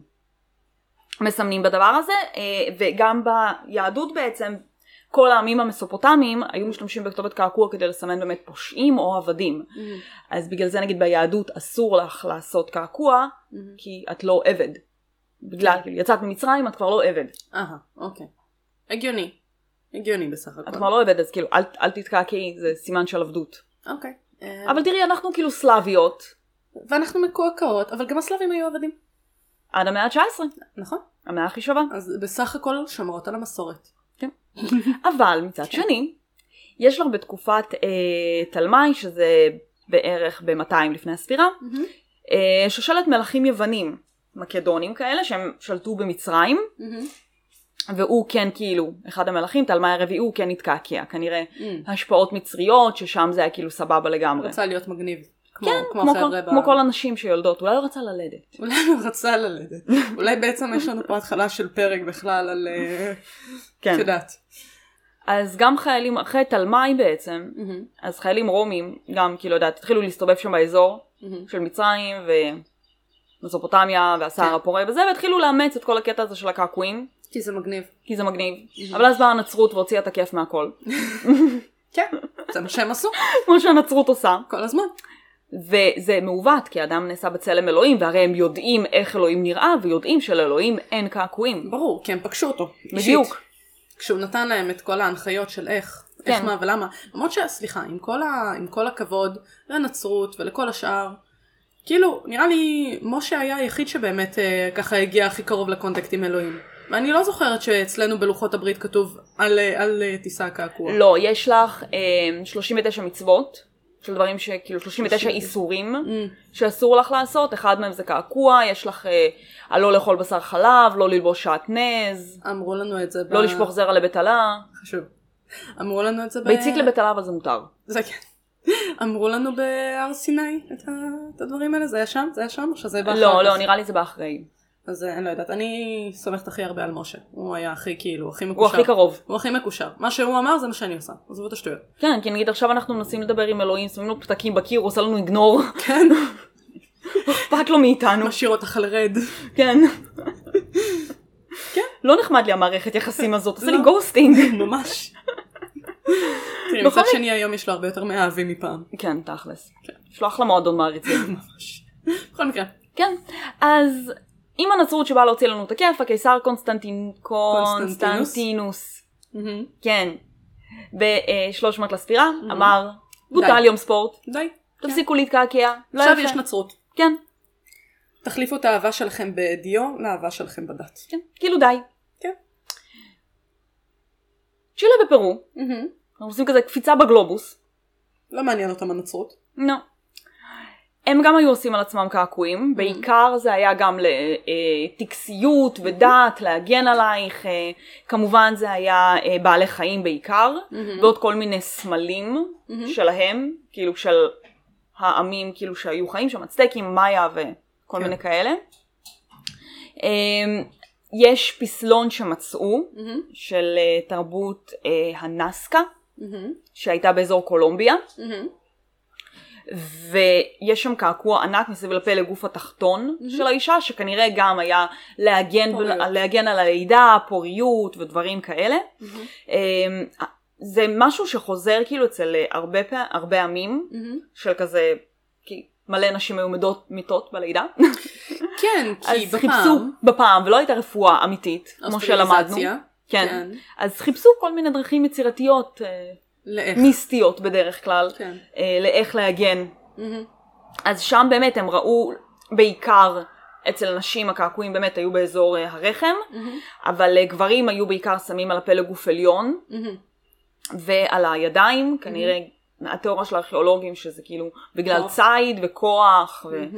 Speaker 1: מסמנים בדבר הזה, אה, וגם ביהדות בעצם, כל העמים המסופוטמיים היו משתמשים בכתובת קעקוע כדי לסמן באמת פושעים או עבדים. אז בגלל זה נגיד ביהדות אסור לך לעשות קעקוע, כי את לא עבד. בגלל, כאילו, יצאת ממצרים, את כבר לא עבד.
Speaker 2: אהה, אוקיי. הגיוני. הגיוני בסך
Speaker 1: את
Speaker 2: הכל.
Speaker 1: כבר לא עבד, אז כאילו, אל, אל תתקעקעי, זה סימן של עבדות.
Speaker 2: אוקיי. אה,
Speaker 1: אבל תראי, אנחנו כאילו סלאביות,
Speaker 2: ואנחנו מקועקעות, אבל גם הסלבים היו עבדים.
Speaker 1: עד המאה ה-19,
Speaker 2: נכון.
Speaker 1: המאה הכי שווה.
Speaker 2: אז בסך הכל שומרות על המסורת.
Speaker 1: אבל מצד
Speaker 2: כן.
Speaker 1: שני, יש לך בתקופת אה, תלמי, שזה בערך ב-200 לפני הספירה, אה, שושלת מלכים יוונים, מקדונים כאלה, שהם שלטו במצרים, והוא כן כאילו, אחד המלכים, תלמי הרביעי, הוא כן התקעקע, כנראה השפעות מצריות, ששם זה היה כאילו סבבה לגמרי.
Speaker 2: רצה להיות מגניב. כמו-
Speaker 1: כן,
Speaker 2: כמו
Speaker 1: כמו,
Speaker 2: החבר'ה
Speaker 1: כל, כמו כל הנשים שיולדות, אולי הוא רצה ללדת.
Speaker 2: אולי הוא רצה ללדת. אולי בעצם יש לנו פה התחלה של פרק בכלל על... אה,
Speaker 1: כן.
Speaker 2: את יודעת.
Speaker 1: אז גם חיילים, אחרי תלמי בעצם, אז חיילים רומים, גם כאילו, יודעת, התחילו להסתובב שם באזור של מצרים ומסופוטמיה והסהר הפורה וזה, והתחילו לאמץ את כל הקטע הזה של הקעקועים,
Speaker 2: כי זה מגניב.
Speaker 1: כי זה מגניב. אבל אז באה הנצרות והוציאה את הכיף מהכל,
Speaker 2: כן, זה מה שהם עשו
Speaker 1: כמו שהנצרות עושה.
Speaker 2: כל הזמן.
Speaker 1: וזה מעוות, כי האדם נעשה בצלם אלוהים, והרי הם יודעים איך אלוהים נראה, ויודעים שלאלוהים אין קעקועים.
Speaker 2: ברור, כי הם פגשו אותו. אישית.
Speaker 1: בדיוק.
Speaker 2: כשהוא נתן להם את כל ההנחיות של איך,
Speaker 1: כן.
Speaker 2: איך מה ולמה. למרות שסליחה, עם כל, ה, עם כל הכבוד לנצרות ולכל השאר, כאילו, נראה לי משה היה היחיד שבאמת אה, ככה הגיע הכי קרוב לקונטקט עם אלוהים. ואני לא זוכרת שאצלנו בלוחות הברית כתוב על, אה, על אה, טיסה קעקוע.
Speaker 1: לא, יש לך אה, 39 מצוות, של דברים שכאילו 39
Speaker 2: 39.
Speaker 1: איסורים.
Speaker 2: אמ,
Speaker 1: שאסור לך לעשות, אחד מהם זה קעקוע, יש לך אה, על לא לאכול בשר חלב, לא ללבוש שעטנז,
Speaker 2: אמרו לנו את זה ב...
Speaker 1: לא לשפוך זרע לבטלה.
Speaker 2: חשוב. אמרו לנו את זה ב...
Speaker 1: ביצית לבטלה אבל זה מותר.
Speaker 2: זה כן. אמרו לנו בהר סיני את, ה... את הדברים האלה, זה היה שם? זה היה שם? או שזה בא אחר
Speaker 1: לא,
Speaker 2: כך?
Speaker 1: לא, נראה לי זה בא אחרי.
Speaker 2: אז אה, אני לא יודעת, אני סומכת הכי הרבה על משה, הוא היה הכי כאילו, הכי מקושר.
Speaker 1: הוא הכי קרוב.
Speaker 2: הוא הכי מקושר. מה שהוא אמר זה מה שאני עושה, עזבו את השטויות.
Speaker 1: כן, כי נגיד עכשיו אנחנו מנסים לדבר עם אלוהים, שמים לו פתקים בקיר, הוא עושה לנו איגנור,
Speaker 2: כן.
Speaker 1: אכפת לו מאיתנו.
Speaker 2: משאיר אותך על רד.
Speaker 1: כן.
Speaker 2: כן.
Speaker 1: לא נחמד לי המערכת יחסים הזאת, עושה לי
Speaker 2: לא.
Speaker 1: גוסטינג.
Speaker 2: ממש. תראי,
Speaker 1: בכל
Speaker 2: מצד שני היום יש לו הרבה יותר מאהבים מפעם.
Speaker 1: כן, תכלס. שלוח למועדון מעריצים.
Speaker 2: ממש. בכל מקרה.
Speaker 1: כן, אז אם הנצרות שבאה להוציא לנו את הכיף, הקיסר קונסטנטין...
Speaker 2: קונסטנטינוס.
Speaker 1: קונסטנטינוס,
Speaker 2: מהמם.
Speaker 1: כן, ב-300 לספירה, אמר,
Speaker 2: די.
Speaker 1: בוטל יום ספורט,
Speaker 2: די.
Speaker 1: תפסיקו להתקעקע, לא
Speaker 2: עכשיו
Speaker 1: יפה.
Speaker 2: יש נצרות.
Speaker 1: כן,
Speaker 2: תחליפו את האהבה שלכם בדיו לאהבה שלכם בדת.
Speaker 1: כן, כאילו די.
Speaker 2: כן.
Speaker 1: צ'ילה בפרו, אנחנו עושים כזה קפיצה בגלובוס,
Speaker 2: לא מעניין אותם הנצרות.
Speaker 1: לא. הם גם היו עושים על עצמם קעקועים, בעיקר זה היה גם לטקסיות ודת, להגן עלייך, אה, כמובן זה היה אה, בעלי חיים בעיקר, ועוד כל מיני סמלים שלהם, כאילו של העמים כאילו שהיו חיים שם, הצטקים, מאיה וכל
Speaker 2: כן.
Speaker 1: מיני כאלה. אמ, יש פסלון שמצאו של אה, תרבות אה, הנסקה, שהייתה באזור קולומביה, ויש שם קעקוע ענק מסביב לפה לגוף התחתון mm-hmm. של האישה, שכנראה גם היה להגן,
Speaker 2: פוריות.
Speaker 1: ב- להגן על הלידה, פוריות ודברים כאלה.
Speaker 2: Mhm.
Speaker 1: אה, זה משהו שחוזר כאילו אצל אה, הרבה, פע- הרבה עמים,
Speaker 2: Mhm.
Speaker 1: של כזה, כי מלא נשים היו מדות, מתות בלידה.
Speaker 2: כן, כי
Speaker 1: אז
Speaker 2: בפעם...
Speaker 1: חיפשו בפעם, ולא הייתה רפואה אמיתית, כמו שלמדנו.
Speaker 2: הסטריליזציה,
Speaker 1: כן. אז חיפשו כל מיני דרכים יצירתיות, אה,
Speaker 2: לאיך.
Speaker 1: מיסטיות בדרך כלל,
Speaker 2: כן.
Speaker 1: אה, לאיך להגן.
Speaker 2: מהמם.
Speaker 1: אז שם באמת הם ראו בעיקר אצל נשים הקעקועים באמת היו באזור אה, הרחם,
Speaker 2: מהמם.
Speaker 1: אבל אה, גברים היו בעיקר שמים על הפלג גוף עליון
Speaker 2: מהמם.
Speaker 1: ועל הידיים, כנראה התיאוריה של הארכיאולוגים שזה כאילו בגלל
Speaker 2: כוח.
Speaker 1: ציד וכוח
Speaker 2: מהמם.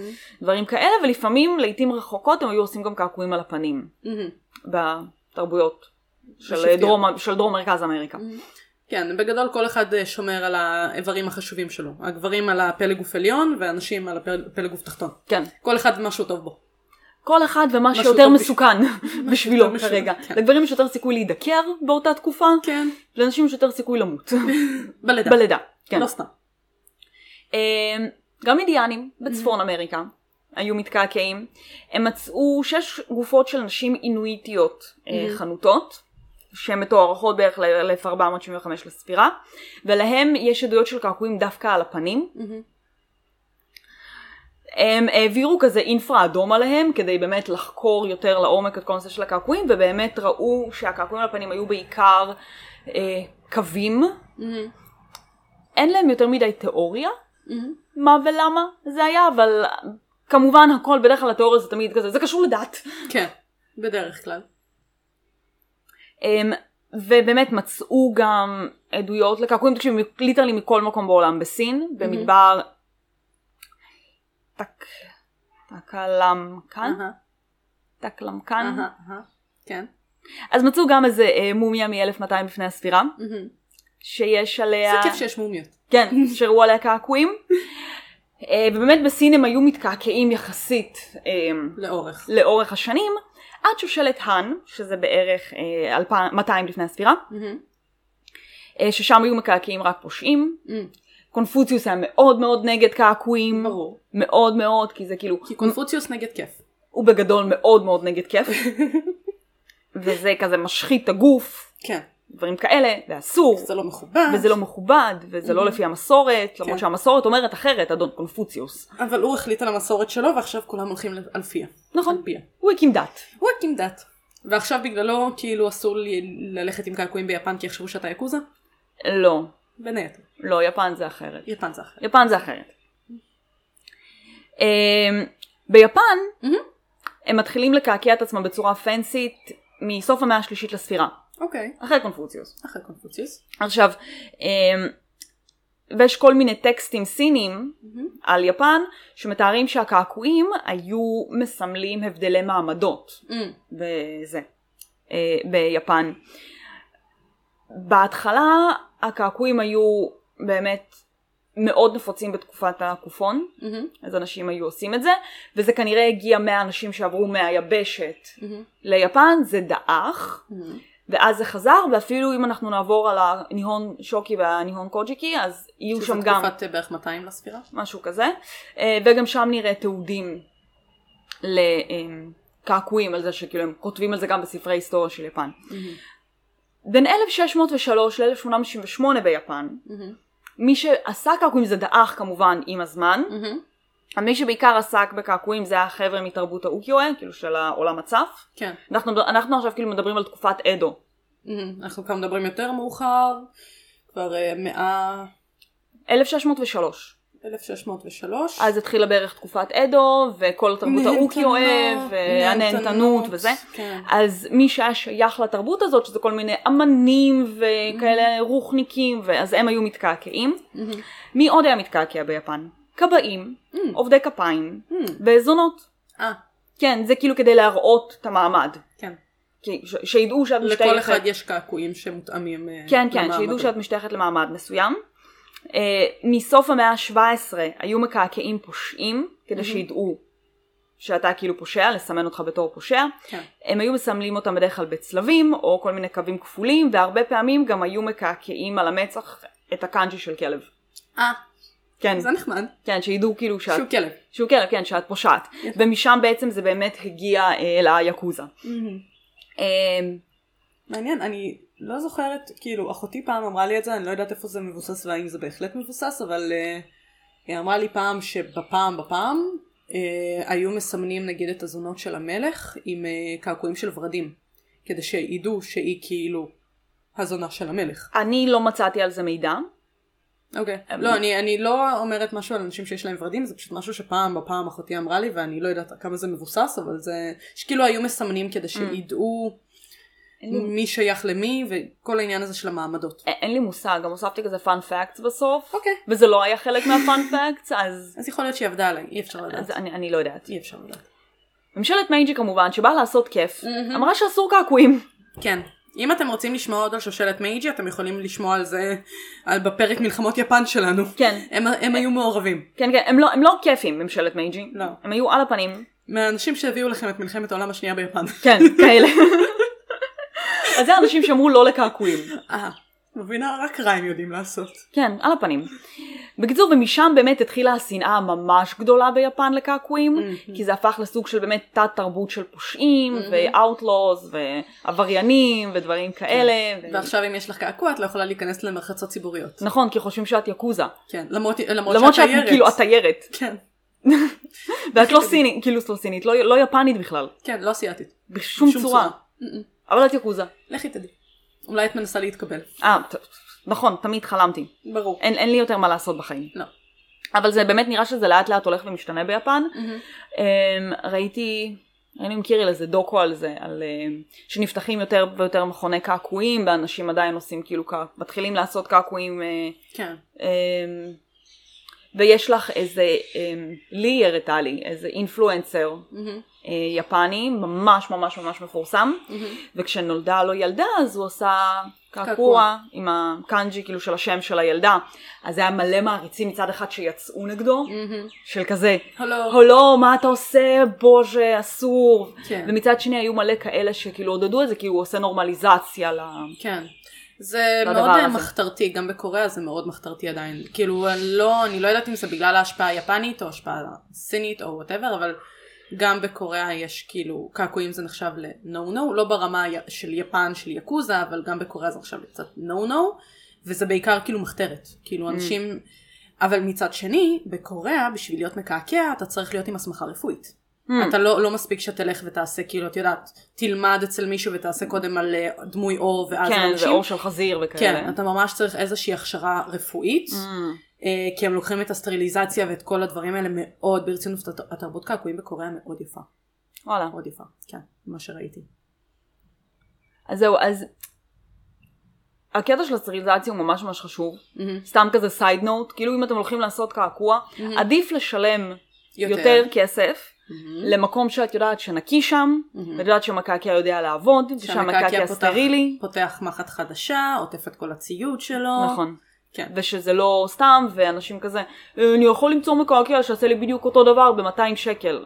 Speaker 1: ודברים כאלה, ולפעמים לעיתים רחוקות הם היו עושים גם קעקועים על הפנים
Speaker 2: מהמם.
Speaker 1: בתרבויות של, אה,
Speaker 2: השבטיות.
Speaker 1: דרום, של דרום מרכז אמריקה.
Speaker 2: כן, בגדול כל אחד אה, שומר על האיברים החשובים שלו. הגברים על הפלג גוף עליון והנשים על הפל- הפלג גוף תחתון.
Speaker 1: כן.
Speaker 2: כל אחד מה שהוא טוב בו.
Speaker 1: כל אחד ומה
Speaker 2: משהו
Speaker 1: שיותר
Speaker 2: טוב בש-
Speaker 1: מסוכן בשבילו
Speaker 2: משהו-
Speaker 1: כרגע.
Speaker 2: כן.
Speaker 1: לגברים יש יותר סיכוי להידקר באותה תקופה,
Speaker 2: כן.
Speaker 1: לאנשים יש יותר סיכוי למות.
Speaker 2: בלידה.
Speaker 1: בלידה, כן.
Speaker 2: לא סתם.
Speaker 1: אמ, גם אינדיאנים בצפון אמריקה היו מתקעקעים. הם מצאו שש גופות של נשים אינואיטיות אה, חנותות, שהן מתוארכות בערך ל-1475 לספירה, ולהם יש עדויות של קעקועים דווקא על הפנים.
Speaker 2: מהמם.
Speaker 1: הם העבירו כזה אינפרה אדום עליהם כדי באמת לחקור יותר לעומק את כל הנושא של הקעקועים ובאמת ראו שהקעקועים על הפנים היו בעיקר אה, קווים.
Speaker 2: מהמם.
Speaker 1: אין להם יותר מדי תיאוריה
Speaker 2: מהמם.
Speaker 1: מה ולמה זה היה אבל כמובן הכל בדרך כלל התיאוריה זה תמיד כזה זה קשור לדת.
Speaker 2: כן. בדרך כלל.
Speaker 1: אמ, ובאמת מצאו גם עדויות לקעקועים, תקשיבי, ליטרלי מכל מקום בעולם, בסין, במדבר... טק... טקלמקן?
Speaker 2: אהה,
Speaker 1: טקלמקן?
Speaker 2: אהה, אהה. כן.
Speaker 1: אז מצאו גם איזה אה, מומיה מ-1200 לפני הספירה,
Speaker 2: מהמם.
Speaker 1: שיש עליה...
Speaker 2: זה כיף שיש מומיות.
Speaker 1: כן, שראו עליה קעקועים. אה, ובאמת בסין הם היו מתקעקעים יחסית אמ,
Speaker 2: לאורך.
Speaker 1: לאורך השנים, עד שושלת האן, שזה בערך אה, 2,000 200 לפני הספירה,
Speaker 2: מהמם.
Speaker 1: אה, ששם היו מקעקעים רק פושעים.
Speaker 2: מהמם.
Speaker 1: קונפוציוס היה מאוד מאוד נגד קעקועים.
Speaker 2: ברור.
Speaker 1: מאוד מאוד, כי זה כאילו,
Speaker 2: כי קונפוציוס נגד כיף.
Speaker 1: הוא בגדול מאוד מאוד נגד כיף. וזה כזה משחית את הגוף,
Speaker 2: כן.
Speaker 1: דברים כאלה, ואסור,
Speaker 2: זה לא מכובד.
Speaker 1: וזה לא מכובד, וזה לא לפי המסורת, למרות
Speaker 2: כן.
Speaker 1: שהמסורת אומרת אחרת, אדון קונפוציוס.
Speaker 2: אבל הוא החליט על המסורת שלו ועכשיו כולם הולכים על פיה.
Speaker 1: נכון.
Speaker 2: על פיה.
Speaker 1: הוא הקים דת.
Speaker 2: הוא הקים דת. ועכשיו בגללו כאילו אסור לי ללכת עם קעקועים ביפן כי יחשבו שאתה יקוזה?
Speaker 1: לא,
Speaker 2: בין היתר.
Speaker 1: לא, יפן זה אחרת.
Speaker 2: יפן זה אחר.
Speaker 1: יפן זה אחרת. אמ, ביפן
Speaker 2: מהמם.
Speaker 1: הם מתחילים לקעקע את עצמם בצורה פנסית מסוף המאה השלישית לספירה,
Speaker 2: אוקיי.
Speaker 1: אחרי קונפוציוס.
Speaker 2: אחרי קונפוציוס.
Speaker 1: עכשיו, אמ, ויש כל מיני טקסטים סינים על יפן שמתארים שהקעקועים היו מסמלים הבדלי מעמדות
Speaker 2: Mm, mm-hmm,
Speaker 1: בזה, אה, ביפן. בהתחלה הקעקועים היו באמת מאוד נפוצים בתקופת הקופון, אז אנשים היו עושים את זה, וזה כנראה הגיע מהאנשים שעברו מהיבשת
Speaker 2: mm-hmm,
Speaker 1: ליפן, זה דעך, ואז זה חזר, ואפילו אם אנחנו נעבור על הניהון שוקי והניהון קוג'יקי, אז יהיו שם גם
Speaker 2: תקופת אה, בערך 200 לספירה.
Speaker 1: משהו כזה, אה, וגם שם נראה תיעודים לקעקועים על זה שכאילו הם כותבים על זה גם בספרי היסטוריה של יפן. בין 1603 ל-1868 ביפן, מי שעשה קעקועים זה דעך כמובן עם הזמן,
Speaker 2: Mm-hmm,
Speaker 1: מי שבעיקר עסק בקעקועים זה היה חבר'ה מתרבות האוקיו-אה, כאילו של העולם הצף.
Speaker 2: כן.
Speaker 1: אנחנו, אנחנו עכשיו כאילו מדברים על תקופת אדו.
Speaker 2: מהמם. Mm-hmm. אנחנו כבר מדברים יותר מאוחר. כבר אה, מאה...
Speaker 1: 1603.
Speaker 2: 1603.
Speaker 1: אז התחילה בערך תקופת אדו, וכל תרבות האוקיו-אה,
Speaker 2: נהנתנות,
Speaker 1: והנהנתנות
Speaker 2: נהנתנות,
Speaker 1: וזה.
Speaker 2: כן.
Speaker 1: אז מי שהיה שייך לתרבות הזאת, שזה כל מיני אמנים וכאלה רוחניקים, אז הם היו מתקעקעים.
Speaker 2: מהמם.
Speaker 1: מי עוד היה מתקעקע ביפן? כבאים, עובדי כפיים, וזונות.
Speaker 2: אה,
Speaker 1: כן, זה כאילו כדי להראות את המעמד.
Speaker 2: כן.
Speaker 1: כי- ש- שידעו שאת
Speaker 2: לכל אחד יש קעקועים שמותאמים אה,
Speaker 1: כן, כן,
Speaker 2: למעמדו.
Speaker 1: שידעו שאת משתייכת למעמד מסוים. אה, מסוף המאה ה-17 היו מקעקעים פושעים, כדי שידעו שאתה כאילו פושע, לסמן אותך בתור פושע.
Speaker 2: כן.
Speaker 1: הם היו מסמלים אותם בדרך כלל בצלבים, או כל מיני קווים כפולים, והרבה פעמים גם היו מקעקעים על המצח את הקאנג'י של כלב.
Speaker 2: אה,
Speaker 1: כן,
Speaker 2: זה נחמד.
Speaker 1: כן, שידעו כאילו שאת...
Speaker 2: שהוא כלב.
Speaker 1: שהוא כלב, כן, שאת פושעת. ומשם בעצם זה באמת הגיע אה, ליאקוזה. אה,
Speaker 2: מעניין, אני לא זוכרת, כאילו, אחותי פעם אמרה לי את זה, אני לא יודעת איפה זה מבוסס והאם זה בהחלט מבוסס, אבל אה, היא אמרה לי פעם שבפעם בפעם אה, היו מסמנים נגיד את הזונות של המלך עם אה, קעקועים של ורדים, כדי שידעו שהיא כאילו הזונה של המלך.
Speaker 1: אני לא מצאתי על זה מידע.
Speaker 2: אוקיי. לא, אני, אני לא אומרת משהו על אנשים שיש להם ורדים, זה פשוט משהו שפעם בפעם אחותי אמרה לי, ואני לא יודעת כמה זה מבוסס, אבל זה... שכאילו היו מסמנים
Speaker 1: Mm.
Speaker 2: כדי שידעו מי שייך למי, וכל העניין הזה של המעמדות.
Speaker 1: א- אין לי מושג, גם הוספתי כזה פאנ פאקטס בסוף,
Speaker 2: אוקיי.
Speaker 1: וזה לא היה חלק מהפאנ פאקטס, אז,
Speaker 2: אז יכול להיות שהיא עבדה עליי, אי אפשר לדעת.
Speaker 1: אז אני, אני לא יודעת.
Speaker 2: אי אפשר לדעת.
Speaker 1: ממשלת מייג'י כמובן, שבאה לעשות כיף, אמרה שאסור קעקועים.
Speaker 2: כן. אם אתם רוצים לשמוע עוד על שושלת מייג'י, אתם יכולים לשמוע על זה על- בפרק מלחמות יפן שלנו.
Speaker 1: כן.
Speaker 2: הם, הם היו מעורבים.
Speaker 1: כן, כן, הם לא, הם לא כיפים, ממשלת מייג'י.
Speaker 2: לא.
Speaker 1: הם היו על הפנים.
Speaker 2: מהאנשים שהביאו לכם את מלחמת העולם השנייה ביפן.
Speaker 1: כן, כאלה. אז זה אנשים שאמרו לא לקעקועים.
Speaker 2: אה, מבינה? רק רע הם יודעים לעשות.
Speaker 1: כן, על הפנים. בקיצור, ומשם באמת התחילה השנאה הממש גדולה ביפן לקעקועים, כי זה הפך לסוג של באמת תת-תרבות של פושעים, ו-outlaws, ועבריינים, ודברים כאלה. ו-
Speaker 2: ועכשיו אם יש לך קעקוע, את לא יכולה להיכנס למרחצות ציבוריות.
Speaker 1: נכון, כי חושבים שאת יקוזה.
Speaker 2: כן, למרות, Mm. למרות,
Speaker 1: למרות
Speaker 2: שאת
Speaker 1: שאת
Speaker 2: תיירת.
Speaker 1: כאילו התיירת,
Speaker 2: כן,
Speaker 1: ואת לא סינית, כאילו לא סינית, לא לא יפנית בכלל,
Speaker 2: כן, לא סייעתית.
Speaker 1: בשום צורה,
Speaker 2: Mm-mm.
Speaker 1: אבל את יקוזה.
Speaker 2: לכי תדעי. אולי את מנסה להתקבל.
Speaker 1: אה, ט- נכון, תמיד חלמתי.
Speaker 2: ברור.
Speaker 1: אין, אין לי יותר מה לעשות בחיים.
Speaker 2: לא.
Speaker 1: אבל זה באמת נראה שזה לאט לאט הולך ומשתנה ביפן.
Speaker 2: Mm-hmm.
Speaker 1: אמ, ראיתי, ראינו עם קיריל איזה דוקו על זה, על אמ, שנפתחים יותר ויותר מכוני קעקועים, ואנשים עדיין עושים כאילו, קע- מתחילים לעשות קעקועים, אה,
Speaker 2: כן.
Speaker 1: אמ, ויש לך איזה, אמ, לי היא הראתה לי, איזה אינפלואנסר. אה, יפני, ממש ממש ממש מפורסם, וכשנולדה לו ילדה אז הוא עשה קעקוע
Speaker 2: קעקוע.
Speaker 1: עם הקאנג'י כאילו של השם של הילדה. אז היה מלא מעריצים מצד אחד שיצאו נגדו, של כזה,
Speaker 2: הלו.
Speaker 1: הלו, מה אתה עושה? בוז'ה, אסור.
Speaker 2: כן.
Speaker 1: ומצד שני היו מלא כאלה שכאילו עודדו את זה, כי הוא עושה נורמליזציה ל...
Speaker 2: כן. זה
Speaker 1: לדבר
Speaker 2: מאוד אה,
Speaker 1: הזה.
Speaker 2: מחתרתי, גם בקוריאה זה מאוד מחתרתי עדיין. כאילו, אני לא, אני לא יודעת אם זה בגלל ההשפעה היפנית או ההשפעה הסינית או וואטאבר, אבל גם בקוריאה יש כאילו, קעקועים זה נחשב ל-no no, לא ברמה י- של יפן של יקוזה, אבל גם בקוריאה זה נחשב קצת no no, וזה בעיקר כאילו מחתרת. כאילו אנשים, אבל מצד שני, בקוריאה בשביל להיות מקעקע אתה צריך להיות עם הסמכה רפואית.
Speaker 1: Hmm.
Speaker 2: אתה לא, לא מספיק שתלך ותעשה כאילו את יודעת תלמד אצל מישהו ותעשה קודם על אה, דמוי אור ואז
Speaker 1: כן,
Speaker 2: אנשים,
Speaker 1: זה עור של חזיר וכאלה. Mm,
Speaker 2: כן אתה ממש צריך איזושהי הכשרה רפואית
Speaker 1: Hmm.
Speaker 2: אה, כי הם לוקחים את הסטריליזציה ואת כל הדברים האלה מאוד ברצינות הת- התרבות קעקועים בקוריאה מאוד יפה
Speaker 1: וואלה.
Speaker 2: מאוד יפה כן מה שראיתי
Speaker 1: אז זהו, אז... הקטע של הסטריליזציה הוא ממש ממש חשוב.
Speaker 2: Mm-hmm.
Speaker 1: סתם כזה סייד נוט, כאילו אם אתם הולכים לעשות קעקוע, עדיף לשלם
Speaker 2: יותר. Mm-hmm.
Speaker 1: יותר כסף למקום שאת יודעת שנקי שם, ואת יודעת שהמקעקע יודע לעבוד, ושהמקעקע
Speaker 2: שהמקעקע פותח-
Speaker 1: סטרילי,
Speaker 2: פותח מחט חדשה עוטף את כל הציוד שלו
Speaker 1: נכון.
Speaker 2: כן
Speaker 1: ושזה לא סתם, ואנשים כזה, "אה, אני יכול למצוא מקעקע שיעשה לי בדיוק אותו דבר ב-200 שקל.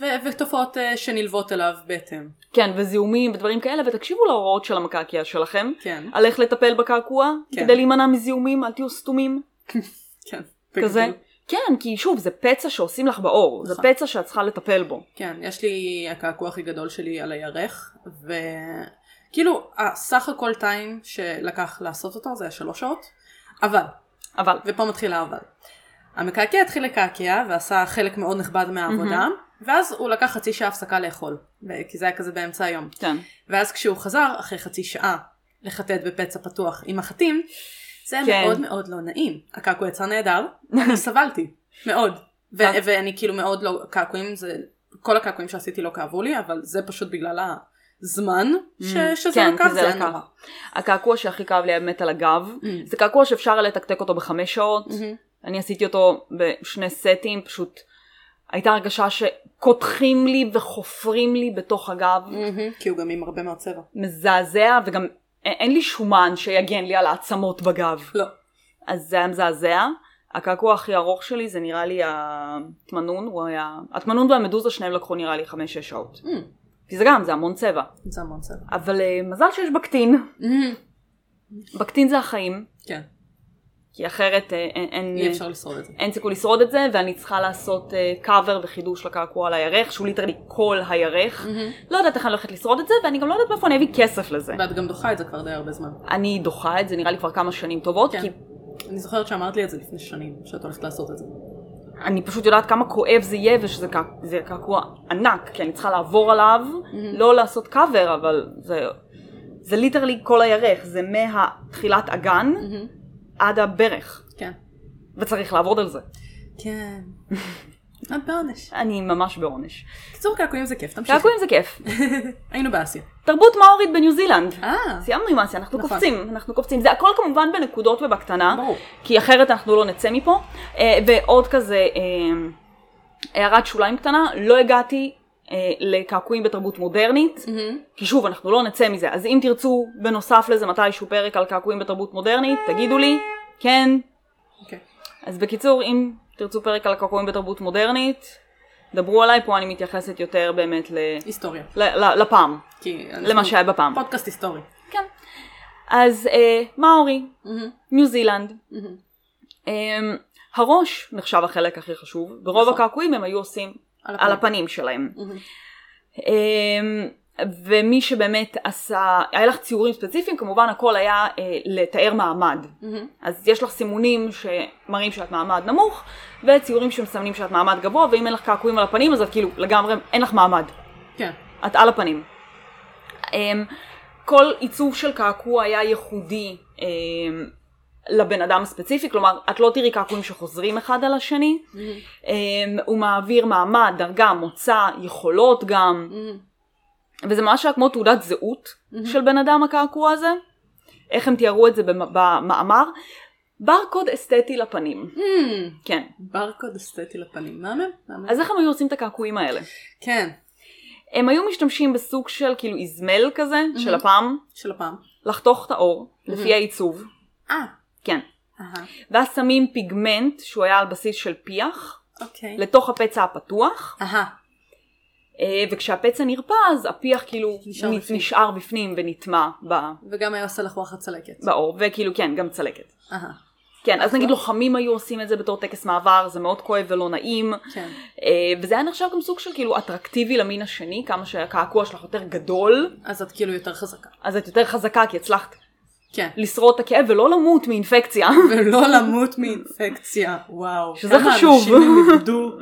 Speaker 2: ו- ותופעות אה, שנלוות אליו בהתאם
Speaker 1: כן, וזיהומים ודברים כאלה, ותקשיבו להוראות של המקעקע שלכם.
Speaker 2: כן
Speaker 1: על איך לטפל בקעקוע,
Speaker 2: כן.
Speaker 1: כדי להימנע מזיהומים, אל תהיו סתומים.
Speaker 2: כן
Speaker 1: כזה. כן, כי שוב, זה פצע שעושים לך בעור, זה
Speaker 2: נכון.
Speaker 1: פצע שאת צריכה לטפל בו.
Speaker 2: כן, יש לי הקעקוע הכי גדול שלי על הירך, וכאילו, הסך הכל טיים שלקח לעשות אותו זה היה שלוש שעות, אבל,
Speaker 1: אבל,
Speaker 2: ופה מתחיל האבל. המקעקע התחיל לקעקע ועשה חלק מאוד נכבד מהעבודה, ואז הוא לקח חצי שעה הפסקה לאכול, ו- כי זה היה כזה באמצע היום.
Speaker 1: כן.
Speaker 2: ואז כשהוא חזר, אחרי חצי שעה, לחטט בפצע פתוח עם החתים, זה היה
Speaker 1: כן.
Speaker 2: מאוד מאוד לא נעים. הקעקוע יצא נהדר, אני סבלתי, מאוד. ו- ואני כאילו מאוד לא, קעקועים זה, כל הקעקועים שעשיתי לא כאבו לי, אבל זה פשוט בגלל הזמן ש- שזה
Speaker 1: כן,
Speaker 2: לקח,
Speaker 1: כי זה
Speaker 2: Mm, זה לא היה
Speaker 1: לקח.
Speaker 2: נורא.
Speaker 1: הקעקוע שהכי כאב לי היה באמת על הגב. זה קעקוע שאפשר היה לתקתק אותו בחמש שעות. אני עשיתי אותו בשני סטים, פשוט הייתה הרגשה שקותחים לי וחופרים לי בתוך הגב.
Speaker 2: Mm. כי הוא גם עם הרבה מאוד צבע.
Speaker 1: מזעזע, וגם א- אין לי שומן שיגן לי על העצמות בגב.
Speaker 2: לא.
Speaker 1: אז זה היה מזעזע. הקעקוע הכי ארוך שלי זה נראה לי התמנון, הוא היה... התמנון והמדוזה שניהם לקחו נראה לי חמש-שש שעות.
Speaker 2: Mm.
Speaker 1: כי זה גם, זה המון צבע.
Speaker 2: זה המון צבע.
Speaker 1: אבל אה, מזל שיש בקטין. בקטין זה החיים.
Speaker 2: כן.
Speaker 1: כי אחרת אה, אין, אין,
Speaker 2: אי אפשר לשרוד את זה.
Speaker 1: אין סיכוי לשרוד את זה, ואני צריכה לעשות קאבר וחידוש לקעקוע על הירך, שהוא ליטרלי כל הירך. לא יודעת איך אני הולכת לשרוד את זה, ואני גם לא יודעת מאיפה אני אביא כסף לזה.
Speaker 2: ואת גם דוחה את זה כבר די הרבה זמן.
Speaker 1: אני דוחה את זה נראה לי כבר כמה שנים טובות,
Speaker 2: כן.
Speaker 1: כי
Speaker 2: אני זוכרת שאמרת לי את זה לפני שנים, שאת הולכת לעשות את זה.
Speaker 1: אני פשוט יודעת כמה כואב זה יהיה ושזה קע- זה קעקוע ענק, כי אני צריכה לעבור עליו, לא לעשות קאבר, אבל זה, זה ליטרלי כל הירך, זה מהתחילת אגן עד הברך,
Speaker 2: כן.
Speaker 1: וצריך לעבוד על זה.
Speaker 2: כן. את בעונש.
Speaker 1: אני ממש בעונש.
Speaker 2: קיצור קעקועים זה כיף, תמשיכי.
Speaker 1: קעקועים זה כיף.
Speaker 2: היינו באסיה.
Speaker 1: תרבות מאורית בניו זילנד.
Speaker 2: אה.
Speaker 1: סיימנו עם אסיה, אנחנו
Speaker 2: נכון.
Speaker 1: קופצים, אנחנו קופצים. זה הכל כמובן בנקודות ובקטנה,
Speaker 2: ברור.
Speaker 1: כי אחרת אנחנו לא נצא מפה. אה, ועוד כזה, אה, הערת שוליים קטנה, לא הגעתי אה, לקעקועים בתרבות מודרנית,
Speaker 2: Mm.
Speaker 1: כי שוב, אנחנו לא נצא מזה. אז אם תרצו, בנוסף לזה מתישהו פרק על קעקועים בתרבות מודרנית, תגידו לי, כן.
Speaker 2: אוקיי.
Speaker 1: אז בקיצור, אם תרצו פרק על קעקועים בתרבות מודרנית, דברו עליי, פה אני מתייחסת יותר באמת ל...
Speaker 2: היסטוריה.
Speaker 1: ל- ל- לפעם,
Speaker 2: כי אנחנו-
Speaker 1: למה שהיה בפעם.
Speaker 2: פודקאסט היסטורי.
Speaker 1: כן. אז אה, מאורי, ניו זילנד. אה, הראש נחשב החלק הכי חשוב, ברוב
Speaker 2: נכון.
Speaker 1: הקעקועים הם היו עושים
Speaker 2: על הפנים. Mm-hmm.
Speaker 1: על הפנים שלהם. אה, ומי שבאמת עשה, היה לך ציורים ספציפיים, כמובן הכל היה אה, לתאר מעמד. אז יש לך סימונים שמראים שאת מעמד נמוך, וציורים שמסמנים שאת מעמד גבוה, ואם אין לך קעקועים על הפנים אז את כאילו לגמרי, אין לך מעמד.
Speaker 2: כן.
Speaker 1: את על הפנים. Um, כל עיצוב של קעקוע היה ייחודי um, לבן אדם הספציפי, כלומר, את לא תראי קעקועים שחוזרים אחד על השני. Um, הוא מעביר מעמד, דרגה, מוצא, יכולות גם, וזה ממש היה כמו תעודת זהות של בן אדם הקעקוע הזה. איך הם תיארו את זה במ- במאמר? ברקוד אסתטי לפנים,
Speaker 2: Mm,
Speaker 1: כן.
Speaker 2: ברקוד אסתטי לפנים. מהמם? מהמם.
Speaker 1: אז איך הם היו עושים את הקעקועים האלה?
Speaker 2: כן.
Speaker 1: הם היו משתמשים בסוג של כאילו איזמל כזה, של הפעם,
Speaker 2: של הפעם.
Speaker 1: לחתוך את האור, לפי העיצוב,
Speaker 2: אה.
Speaker 1: כן.
Speaker 2: אהה.
Speaker 1: ואז שמים פיגמנט שהוא היה על בסיס של פיח,
Speaker 2: אוקיי.
Speaker 1: לתוך הפצע הפתוח,
Speaker 2: אהה.
Speaker 1: אה, וכשהפצע נרפא אז הפיח כאילו
Speaker 2: נשאר
Speaker 1: נ-
Speaker 2: בפנים.
Speaker 1: נשאר בפנים ונטמע ב-
Speaker 2: וגם היה עושה לך וואחד צלקת.
Speaker 1: באור, וכאילו כן, גם צלקת.
Speaker 2: אהה.
Speaker 1: כן, אז נגיד לוחמים היו עושים את זה בתור טקס מעבר, זה מאוד כואב ולא נעים,
Speaker 2: כן.
Speaker 1: אה, וזה היה נחשב גם סוג של כאילו אטרקטיבי למין השני, כמה שהקעקוע שלך יותר גדול,
Speaker 2: אז את כאילו יותר חזקה.
Speaker 1: אז את יותר חזקה כי הצלחת
Speaker 2: כן.
Speaker 1: לשרוד את הכאב ולא למות מאינפקציה.
Speaker 2: ולא למות מאינפקציה, וואו.
Speaker 1: שזה חשוב.
Speaker 2: כמה אנשים איבדו.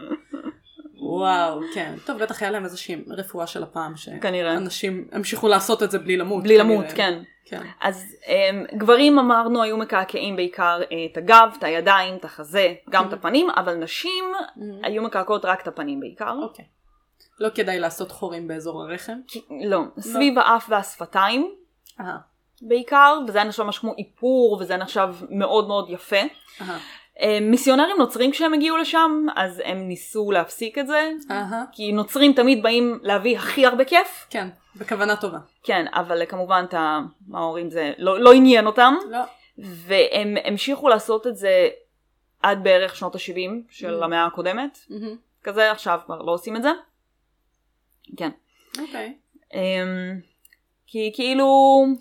Speaker 2: וואו, כן. טוב, בטח היה להם איזושהי רפואה של הפעם,
Speaker 1: כנראה.
Speaker 2: שאנשים המשיכו לעשות את זה בלי למות.
Speaker 1: בלי למות,
Speaker 2: כנראה.
Speaker 1: כן.
Speaker 2: כן.
Speaker 1: אז um, גברים אמרנו היו מקעקעים בעיקר uh, את הגב, את הידיים, את החזה, גם את הפנים, אבל נשים היו מקעקעות רק את הפנים בעיקר.
Speaker 2: אוקיי. לא כדאי לעשות חורים באזור הרחם.
Speaker 1: כי, לא, סביב האף והשפתיים
Speaker 2: אהה.
Speaker 1: בעיקר, וזה היה נחשב ממש כמו איפור, וזה היה נחשב מאוד מאוד יפה.
Speaker 2: אהה.
Speaker 1: אה, מיסיונרים נוצרים כשהם הגיעו לשם, אז הם ניסו להפסיק את זה.
Speaker 2: אהה.
Speaker 1: כי נוצרים תמיד באים להביא הכי הרבה כיף,
Speaker 2: כן, בכוונה טובה.
Speaker 1: כן, אבל אה, כמובן את המאורים זה לא, לא עניין אותם.
Speaker 2: לא.
Speaker 1: והם המשיכו לעשות את זה עד בערך שנות ה-70 של
Speaker 2: Mm.
Speaker 1: המאה הקודמת,
Speaker 2: מהמם.
Speaker 1: כזה עכשיו כבר לא עושים את זה. כן.
Speaker 2: אוקיי.
Speaker 1: אמ, כי כאילו,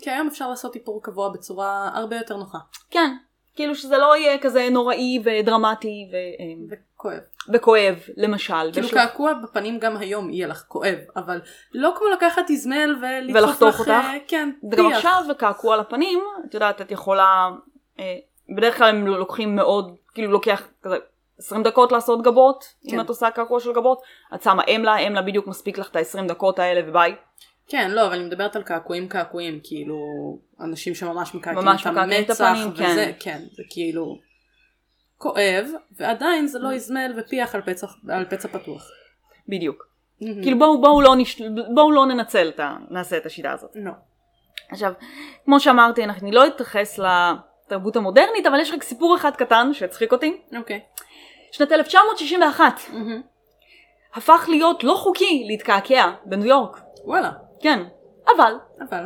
Speaker 2: כי היום אפשר לעשות איפור קבוע בצורה הרבה יותר נוחה.
Speaker 1: כן, כאילו שזה לא יהיה כזה נוראי ודרמטי ו- אמ,
Speaker 2: וכואב.
Speaker 1: וכואב, למשל.
Speaker 2: כאילו
Speaker 1: ויש לך-
Speaker 2: קעקוע בפנים גם היום יהיה לך כואב, אבל לא כמו לקחת איזמל ולדחוף
Speaker 1: ולחתוך
Speaker 2: לך,
Speaker 1: אותך.
Speaker 2: אה, כן,
Speaker 1: גם
Speaker 2: פיח.
Speaker 1: עכשיו קעקוע על הפנים, את יודעת, את יכולה, אה, בדרך כלל הם לוקחים מאוד, כאילו לוקח כזה 20 דקות לעשות גבות,
Speaker 2: כן.
Speaker 1: אם את עושה קעקוע של גבות, את שמה אמלה, אמלה בדיוק מספיק לך את ה-20 דקות האלה וביי.
Speaker 2: כן, לא, אבל אני מדברת על קעקועים קעקועים, כאילו, אנשים שממש מקעקעים
Speaker 1: ממש
Speaker 2: את
Speaker 1: מקעקעים את
Speaker 2: המצח,
Speaker 1: הפנים,
Speaker 2: וזה, כן, זה כאילו כואב, ועדיין זה לא
Speaker 1: Mm.
Speaker 2: איזמל ופיח על פצע, על פצע פתוח.
Speaker 1: בדיוק. כאילו בואו, בואו, לא, נש... בואו לא ננצל את ה... נעשה את השיטה הזאת.
Speaker 2: לא.
Speaker 1: עכשיו, כמו שאמרתי, אני לא אתייחס לתרבות המודרנית, אבל יש רק סיפור אחד קטן שהצחיק אותי.
Speaker 2: אוקיי. Mm-hmm.
Speaker 1: שנת 1961 הפך להיות לא חוקי להתקעקע בניו יורק.
Speaker 2: וואלה,
Speaker 1: כן. אבל,
Speaker 2: אבל,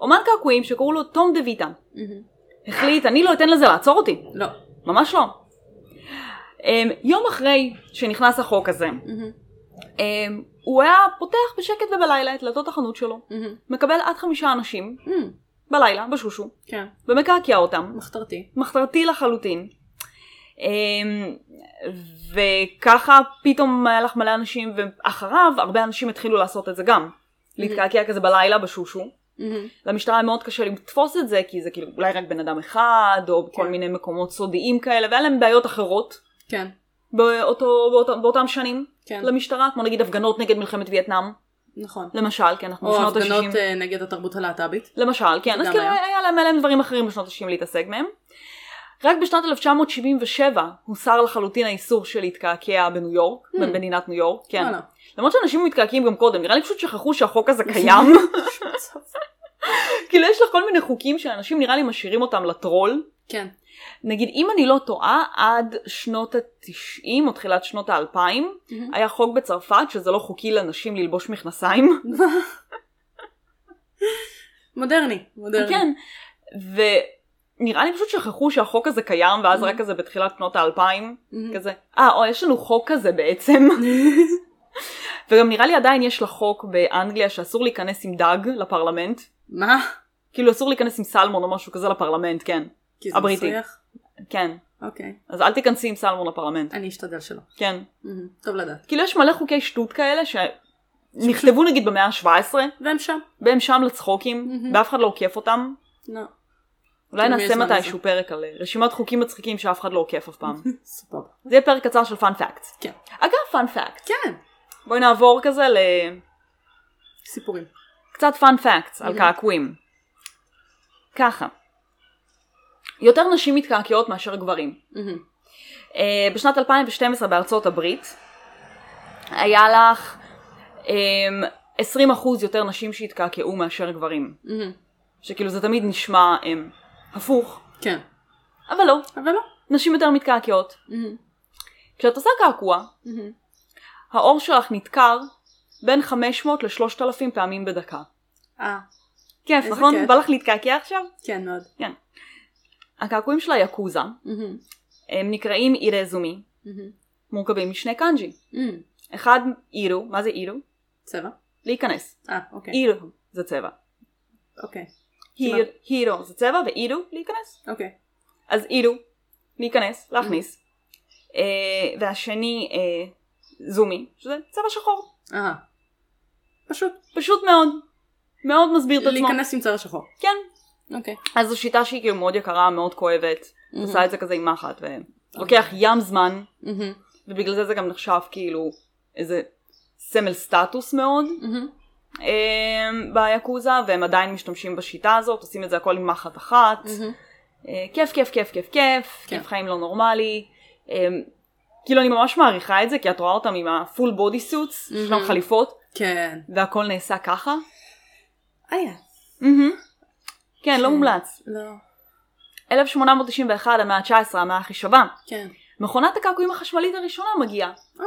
Speaker 1: אומן קעקועים שקראו לו תום דה ויטה, Mm-hmm. החליט, אני לא אתן לזה לעצור אותי.
Speaker 2: לא.
Speaker 1: ממש לא. אמ, יום אחרי שנכנס החוק הזה,
Speaker 2: Mm-hmm.
Speaker 1: אמ,
Speaker 2: Mm-hmm.
Speaker 1: הוא היה פותח בשקט ובלילה את דלתות החנות שלו, מקבל עד חמישה אנשים, בלילה, בשושו,
Speaker 2: Mm, כן,
Speaker 1: ומקעקע אותם,
Speaker 2: מחתרתי.
Speaker 1: מחתרתי לחלוטין. אמ, וככה פתאום היה לך מלא אנשים, ואחריו הרבה אנשים התחילו לעשות את זה גם. להתקעקע כזה בלילה בשושו. למשטרה היה מאוד קשה לתפוס את זה, כי זה כאילו אולי רק בן אדם אחד, או כל
Speaker 2: כן.
Speaker 1: מיני מקומות סודיים כאלה, והיה להם בעיות אחרות
Speaker 2: כן,
Speaker 1: באותו, באותו, באותם שנים
Speaker 2: כן,
Speaker 1: למשטרה, כמו נגיד הפגנות נגד מלחמת וייטנאם,
Speaker 2: נכון.
Speaker 1: למשל, כי אנחנו
Speaker 2: או
Speaker 1: בשנות ה-60.
Speaker 2: הפגנות אה, נגד התרבות הלהט"בית.
Speaker 1: למשל, כן, אז
Speaker 2: גם
Speaker 1: כאילו
Speaker 2: היה.
Speaker 1: היה להם, היה להם דברים אחרים בשנות ה-90 להתעסק מהם. רק בשנת 1977 הוסר לחלוטין האיסור של להתקעקע בניו יורק,
Speaker 2: Hmm.
Speaker 1: במדינת ניו יורק, כן.
Speaker 2: וואלה.
Speaker 1: למרות שאנשים מתקעקעים גם קודם, נראה לי פשוט שכחו שהחוק הזה קיים. כאילו יש לך כל מיני חוקים שאנשים נראה לי משאירים אותם לטרול.
Speaker 2: כן,
Speaker 1: נגיד אם אני לא טועה, עד שנות ה-90 או תחילת שנות ה-2000,
Speaker 2: Mhm.
Speaker 1: היה חוק בצרפת שזה לא חוקי לנשים ללבוש מכנסיים.
Speaker 2: מודרני, מודרני.
Speaker 1: כן, ונראה לי פשוט שכחו שהחוק הזה קיים, ואז רק כזה בתחילת שנות האלפיים,
Speaker 2: Mhm.
Speaker 1: כזה, אה, או, יש לנו חוק כזה בעצם. וגם נראה לי עדיין יש לה חוק באנגליה שאסור להיכנס עם דג לפרלמנט.
Speaker 2: מה?
Speaker 1: כאילו אסור להיכנס עם סלמון או משהו כזה לפרלמנט, כן.
Speaker 2: כי זה
Speaker 1: הבריטי.
Speaker 2: מסריח?
Speaker 1: כן.
Speaker 2: אוקיי,
Speaker 1: אז אל תיכנסי עם סלמון לפרלמנט.
Speaker 2: אני אשתדל שלא.
Speaker 1: כן.
Speaker 2: Mhm. טוב לדעת.
Speaker 1: כאילו יש מלא חוקי שטות כאלה שנכתבו נגיד במאה ה-17,
Speaker 2: והם שם.
Speaker 1: והם שם לצחוקים,
Speaker 2: Mhm.
Speaker 1: ואף אחד לא עוקף אותם.
Speaker 2: לא.
Speaker 1: אולי
Speaker 2: למי יש
Speaker 1: נעשה
Speaker 2: זמן לזה?
Speaker 1: מתישהו פרק על אה, רשימת חוקים מצחיקים שאף אחד לא עוקף אף פעם.
Speaker 2: סבבה.
Speaker 1: זה יהיה פרק קצר של פאנפקט.
Speaker 2: כן.
Speaker 1: אגב, פאנפקט.
Speaker 2: כן.
Speaker 1: בואי נעבור כזה ל...
Speaker 2: סיפורים.
Speaker 1: קצת פאנפקט על
Speaker 2: Mhm.
Speaker 1: קעקועים. ככה. יותר נשים מתקעקעות מאשר גברים.
Speaker 2: Mhm.
Speaker 1: אה, בשנת 2012 בארצות הברית היה לך אמ, 20% יותר נשים שהתקעקעו מאשר גברים.
Speaker 2: Mhm.
Speaker 1: שכאילו זה תמיד נשמע אמ, הפוך,
Speaker 2: כן.
Speaker 1: אבל לא,
Speaker 2: אבל לא.
Speaker 1: נשים יותר מתקעקעות.
Speaker 2: Mhm.
Speaker 1: כשאת עושה קעקוע,
Speaker 2: Mhm.
Speaker 1: העור שלך נדקר בין 500 ל-3,000 פעמים בדקה.
Speaker 2: אה,
Speaker 1: כיף,
Speaker 2: איזה
Speaker 1: נכון?
Speaker 2: כיף.
Speaker 1: בא לך להתקעקע עכשיו?
Speaker 2: כן מאוד.
Speaker 1: הקעקועים של היאקוזה
Speaker 2: Mhm.
Speaker 1: הם נקראים אירזומי,
Speaker 2: Mhm.
Speaker 1: מורכבים משני קאנג'י.
Speaker 2: Mhm.
Speaker 1: אחד אירו, מה זה אירו?
Speaker 2: צבע?
Speaker 1: להיכנס.
Speaker 2: אה, אוקיי.
Speaker 1: אירו זה צבע.
Speaker 2: אוקיי.
Speaker 1: היר- הירו זה צבע ואירו להיכנס.
Speaker 2: אוקיי.
Speaker 1: אז אירו, להיכנס,
Speaker 2: Mm.
Speaker 1: להכניס. אה, והשני אה, זומי, שזה צבע שחור.
Speaker 2: אהה. אה. פשוט
Speaker 1: פשוט מאוד. מאוד מסביר את עצמו.
Speaker 2: להיכנס עם צבע שחור.
Speaker 1: כן.
Speaker 2: אוקיי.
Speaker 1: אז זו שיטה שהיא כאילו מאוד יקרה, מאוד כואבת.
Speaker 2: Mm-hmm.
Speaker 1: עושה את זה כזה עם מחט, ולוקח ים זמן,
Speaker 2: מהמם.
Speaker 1: ובגלל זה זה גם נחשב כאילו איזה סמל סטטוס מאוד
Speaker 2: מהמם.
Speaker 1: אה, ביקוזה, והם עדיין משתמשים בשיטה הזאת, עושים את זה הכל עם מחט אחת.
Speaker 2: מהמם.
Speaker 1: אה, כיף, כיף, כיף, כיף, כיף,
Speaker 2: כן.
Speaker 1: כיף חיים לא נורמלי. אה, כאילו אני ממש מעריכה את זה, כי את רואה אותם עם הפול בודי סוטס, יש להם
Speaker 2: Mhm.
Speaker 1: חליפות,
Speaker 2: כן.
Speaker 1: והכל נעשה ככה.
Speaker 2: איה.
Speaker 1: מהמם. כן, לא
Speaker 2: כן.
Speaker 1: מומלץ.
Speaker 2: לא.
Speaker 1: 1891, המאה ה-19, המאה הכי שווה.
Speaker 2: כן.
Speaker 1: מכונת הקעקועים החשמלית הראשונה מגיעה.
Speaker 2: אה.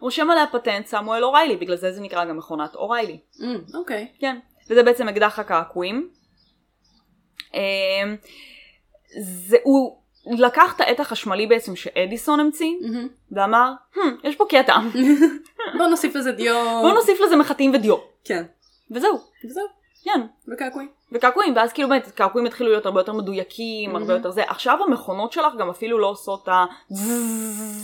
Speaker 1: רושם עליה פטנט סמואל אוריילי, בגלל זה זה נקרא גם מכונת אוריילי.
Speaker 2: Mm, אוקיי.
Speaker 1: כן. וזה בעצם אקדח הקעקועים. אמ, זה, הוא לקח את העט החשמלי בעצם שאדיסון המציא,
Speaker 2: מהמם.
Speaker 1: ואמר, "הם, יש פה קטע,
Speaker 2: בוא נוסיף לזה דיו.
Speaker 1: בוא נוסיף לזה מחטים ודיו.
Speaker 2: כן.
Speaker 1: וזהו,
Speaker 2: וזהו.
Speaker 1: כן.
Speaker 2: וקעקועים.
Speaker 1: וקעקועים, ואז כאילו באמת, קעקועים התחילו להיות הרבה יותר מדויקים, הרבה
Speaker 2: Mhm.
Speaker 1: יותר זה. עכשיו המכונות שלך גם אפילו לא עושות את ה...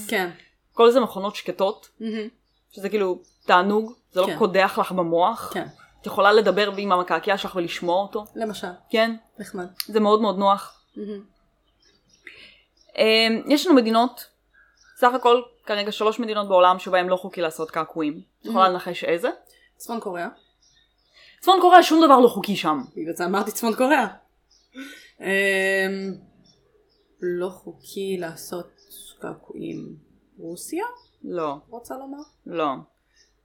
Speaker 2: כן.
Speaker 1: כל זה מכונות שקטות.
Speaker 2: מהמם.
Speaker 1: שזה כאילו תענוג, זה לא
Speaker 2: כן.
Speaker 1: קודח לך במוח.
Speaker 2: כן.
Speaker 1: את יכולה לדבר עם המקעקע שלך ולשמוע אותו,
Speaker 2: למשל.
Speaker 1: כן?
Speaker 2: נחמד.
Speaker 1: זה מאוד מאוד נוח.
Speaker 2: מהמם.
Speaker 1: אמ, יש לנו מדינות, סך הכל כרגע שלוש מדינות בעולם שבהן לא חוקי לעשות קעקועים. את יכולה
Speaker 2: Mm-hmm.
Speaker 1: לנחש איזה?
Speaker 2: צפון קוריאה.
Speaker 1: צפון קוריאה שום דבר לא חוקי שם.
Speaker 2: בגלל זה אמרתי צפון קוריאה. אמ, לא חוקי לעשות קעקועים. רוסיה?
Speaker 1: לא,
Speaker 2: רוצה לומר?
Speaker 1: לא.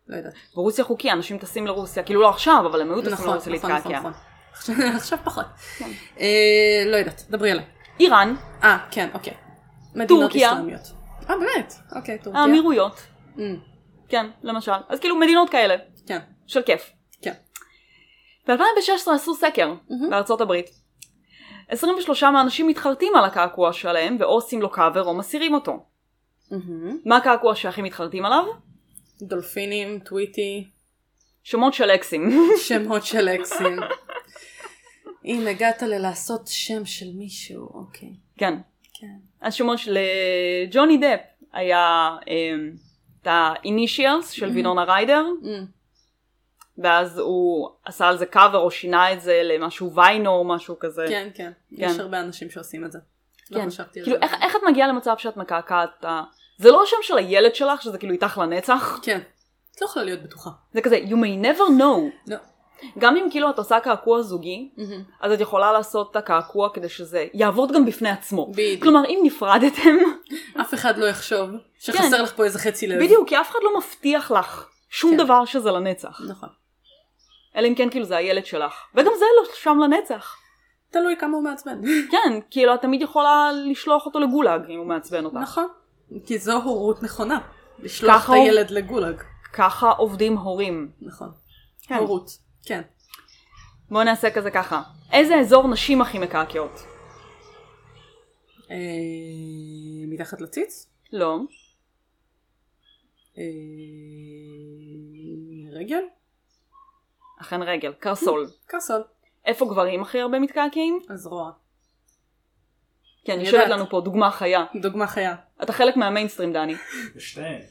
Speaker 2: לא יודעת.
Speaker 1: ברוסיה חוקי, אנשים טסים לרוסיה, כאילו לא עכשיו, אבל הם היו טסים
Speaker 2: נכון,
Speaker 1: לרוסיה
Speaker 2: נכון, נכון,
Speaker 1: להתקעקע.
Speaker 2: נכון. עכשיו- עכשיו פחות.
Speaker 1: כן.
Speaker 2: אה, לא יודעת, דברי עליי.
Speaker 1: איראן,
Speaker 2: אה, כן, אוקיי. מדינות
Speaker 1: טורקיה.
Speaker 2: אסלאמיות. אה, באמת? אוקיי, טורקיה.
Speaker 1: האמירויות,
Speaker 2: Mm,
Speaker 1: כן, למשל. אז כאילו מדינות כאלה,
Speaker 2: כן.
Speaker 1: של כיף.
Speaker 2: כן. Mm-hmm.
Speaker 1: ב-2016 עשו סקר
Speaker 2: מהמם.
Speaker 1: בארצות הברית. 23 מהאנשים מתחרטים על הקעקוע שלהם ואו עושים לו קאבר או מסירים אותו.
Speaker 2: מהמם.
Speaker 1: מה הקעקוע שהכי מתחרטים עליו?
Speaker 2: דולפינים, טוויטי,
Speaker 1: שמות של אקסים.
Speaker 2: שמות של אקסים. אם הגעת ללעשות שם של מישהו, אוקיי.
Speaker 1: כן.
Speaker 2: כן.
Speaker 1: אז שמוש לג'וני דפ היה אמ, את ה-initials של
Speaker 2: Mm-hmm.
Speaker 1: וינונה ריידר,
Speaker 2: Mm,
Speaker 1: ואז הוא עשה על זה קאבר או שינה את זה למשהו ויינו או משהו כזה.
Speaker 2: כן, כן. יש הרבה אנשים שעושים את זה. לא
Speaker 1: כן.
Speaker 2: חשבתי על זה.
Speaker 1: כאילו איך, איך את מגיעה למצב שאת מקעקעת? את ה- זה לא השם של הילד שלך שזה כאילו איתך לנצח?
Speaker 2: כן. את לא יכולה להיות בטוחה.
Speaker 1: זה כזה you may never know.
Speaker 2: לא.
Speaker 1: גם אם כאילו את עושה קעקוע זוגי, אז את יכולה לעשות את הקעקוע כדי שזה יעבוד גם בפני עצמו.
Speaker 2: בדיוק.
Speaker 1: כלומר אם נפרדתם,
Speaker 2: אף אחד לא יחשוב שחסר לך פה איזה חצי לב.
Speaker 1: כן. בדיוק כי אף אחד לא מבטיח לך שום
Speaker 2: כן.
Speaker 1: דבר שזה לנצח.
Speaker 2: נכון.
Speaker 1: אלא אם כן כאילו זה הילד שלך. וגם זה לא שם לנצח.
Speaker 2: תלוי כמה הוא מעצבן.
Speaker 1: כן, כאילו את תמיד יכולה לשלוח אותו לגולאג אם הוא מעצבן אותך.
Speaker 2: נכון. כי זו הורות נכונה. לשלוח את
Speaker 1: ככה הוא-
Speaker 2: הילד לגולאג.
Speaker 1: נכון. ככה עובדים הורים.
Speaker 2: נכון.
Speaker 1: כן.
Speaker 2: הורות. כן.
Speaker 1: בואו נעשה כזה ככה. איזה אזור נשים הכי מקעקעות?
Speaker 2: אה, מתחת לציץ?
Speaker 1: לא.
Speaker 2: אה, רגל?
Speaker 1: אכן רגל. קרסול.
Speaker 2: קרסול.
Speaker 1: איפה גברים הכי הרבה מתקעקעים?
Speaker 2: הזרוע.
Speaker 1: כן, אני
Speaker 2: יודעת.
Speaker 1: יושבת לנו פה דוגמה חיה.
Speaker 2: דוגמה חיה.
Speaker 1: אתה חלק מהמיינסטרים, דני.
Speaker 3: בשתיהן.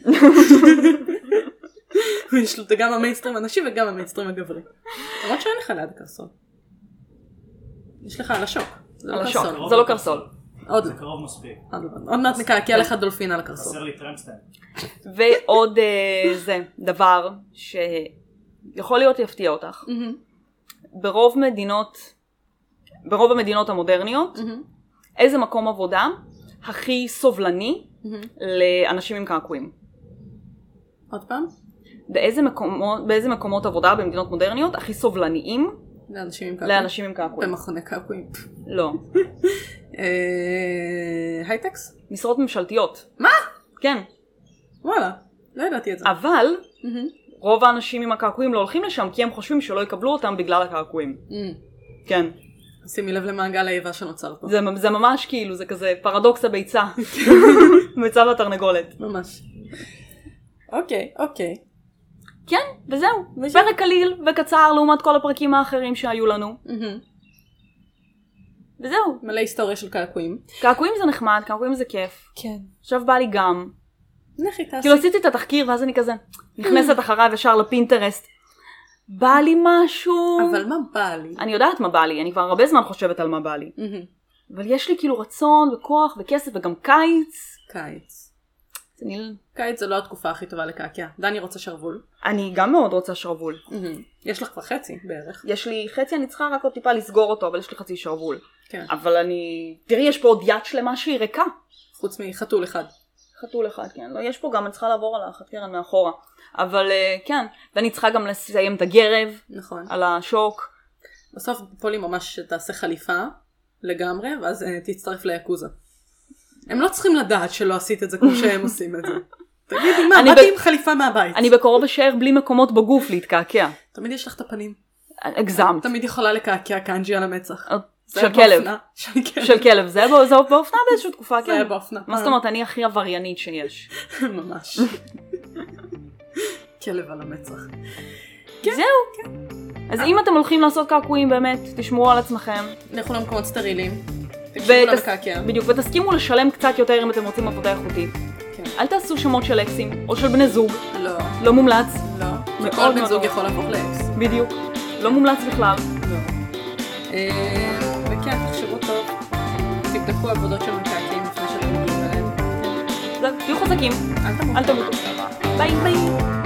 Speaker 2: יש לו גם המיינסטרים הנשי וגם המיינסטרים הגברי. למרות שאין לך ליד קרסול. יש לך על השוק. זה לא
Speaker 1: על השוק.
Speaker 2: קרסול.
Speaker 1: זה לא קרסול.
Speaker 2: עוד
Speaker 3: זה
Speaker 2: לא.
Speaker 3: קרוב מספיק.
Speaker 2: עוד לא. עוד מעט נקעקע לך דולפין על הקרסול.
Speaker 3: חסר לי טרמפסטיין.
Speaker 1: ועוד אה, זה דבר שיכול להיות יפתיע אותך.
Speaker 2: מהמם,
Speaker 1: ברוב מדינות, ברוב המדינות המודרניות,
Speaker 2: מהמם,
Speaker 1: איזה מקום עבודה הכי סובלני
Speaker 2: מהמם.
Speaker 1: לאנשים עם קעקועים?
Speaker 2: עוד פעם?
Speaker 1: באיזה מקומות, באיזה מקומות עבודה במדינות מודרניות הכי
Speaker 2: אוקיי.
Speaker 1: סובלניים
Speaker 2: לאנשים עם קעקועים.
Speaker 1: לאנשים עם קעקועים?
Speaker 2: במכוני קעקועים.
Speaker 1: לא.
Speaker 2: אה, הייטקס?
Speaker 1: משרות ממשלתיות.
Speaker 2: מה?
Speaker 1: כן.
Speaker 2: וואלה. לא ידעתי את זה.
Speaker 1: אבל
Speaker 2: מהמם.
Speaker 1: רוב האנשים עם הקעקועים לא הולכים לשם כי הם חושבים שלא יקבלו אותם בגלל הקעקועים.
Speaker 2: מהמם.
Speaker 1: כן.
Speaker 2: שימי לב למעגל האיבה שנוצר פה.
Speaker 1: זה, זה ממש כאילו, זה כזה פרדוקס הביצה. ביצה והתרנגולת.
Speaker 2: ממש. אוקיי, אוקיי.
Speaker 1: כן, וזהו.
Speaker 2: וזהו.
Speaker 1: פרק קליל וקצר לעומת כל הפרקים האחרים שהיו לנו.
Speaker 2: מהמם.
Speaker 1: וזהו.
Speaker 2: מלא היסטוריה של קעקועים.
Speaker 1: קעקועים זה נחמד, קעקועים זה כיף.
Speaker 2: כן.
Speaker 1: עכשיו בא לי גם.
Speaker 2: לכי תעשי.
Speaker 1: כאילו עשיתי את התחקיר ואז אני כזה נכנסת אחריו ישר לפינטרסט. בא לי משהו.
Speaker 2: אבל מה בא לי?
Speaker 1: אני יודעת מה בא לי, אני כבר הרבה זמן חושבת על מה בא לי.
Speaker 2: מהמם.
Speaker 1: אבל יש לי כאילו רצון וכוח וכסף וגם קיץ.
Speaker 2: קיץ.
Speaker 1: אז אני,
Speaker 2: קיץ זה לא התקופה הכי טובה לקעקע. דני רוצה שרוול.
Speaker 1: אני גם מאוד רוצה שרוול.
Speaker 2: יש לך כבר חצי בערך.
Speaker 1: יש לי חצי, אני צריכה רק עוד טיפה לסגור אותו, אבל יש לי חצי שרוול.
Speaker 2: כן.
Speaker 1: אבל אני... תראי, יש פה עוד יד שלמה שהיא ריקה.
Speaker 2: חוץ מחתול אחד.
Speaker 1: חתול אחד, כן. לא, יש פה גם, אני צריכה לעבור על האחת קרן מאחורה. אבל אה, כן, ואני צריכה גם לסיים את הגרב
Speaker 2: נכון.
Speaker 1: על השוק.
Speaker 2: בסוף פולי ממש תעשה חליפה לגמרי, ואז אה, תצטרף ליקוזה. הם לא צריכים לדעת שלא עשית את זה כמו שהם עושים את זה. תגידי מה,
Speaker 1: אני
Speaker 2: באתי
Speaker 1: ב-
Speaker 2: עם חליפה מהבית.
Speaker 1: אני בקרוב אשאר בלי מקומות בגוף להתקעקע.
Speaker 2: תמיד יש לך את הפנים.
Speaker 1: הגזמת.
Speaker 2: תמיד יכולה לקעקע קאנג'י על המצח. זה
Speaker 1: אה, של
Speaker 2: היה
Speaker 1: כלב.
Speaker 2: באופנה. של כלב.
Speaker 1: של כלב. זה היה בא- זה היה באופנה באיזושהי תקופה,
Speaker 2: זה היה
Speaker 1: כן.
Speaker 2: באופנה.
Speaker 1: מה זאת אומרת, אני הכי עבריינית שיש.
Speaker 2: ממש. כלב על המצח.
Speaker 1: זהו. אז אם אתם הולכים לעשות קעקועים באמת, תשמרו על עצמכם.
Speaker 2: לכו למקומות סטרילים. תקשיבו
Speaker 1: ותס-
Speaker 2: לקעקע.
Speaker 1: בדיוק, ותסכימו לשלם קצת יותר אם אתם רוצים עבודה איכותית.
Speaker 2: כן.
Speaker 1: אל תעשו שמות של אקסים, או של בני זוג,
Speaker 2: לא.
Speaker 1: לא מומלץ,
Speaker 2: לא.
Speaker 1: מאוד
Speaker 2: וכל בן
Speaker 1: מאוד
Speaker 2: זוג
Speaker 1: מאוד. לא.
Speaker 2: יכול להפוך לאקס.
Speaker 1: בדיוק. לא מומלץ בכלל.
Speaker 2: לא. אה, וכן, תחשבו טוב. תבדקו עבודות של מקעקעים לפני שאתם מגיעים אליהם.
Speaker 1: זהו, תהיו חזקים,
Speaker 2: אל תמות.
Speaker 1: אל תמותו. ביי ביי.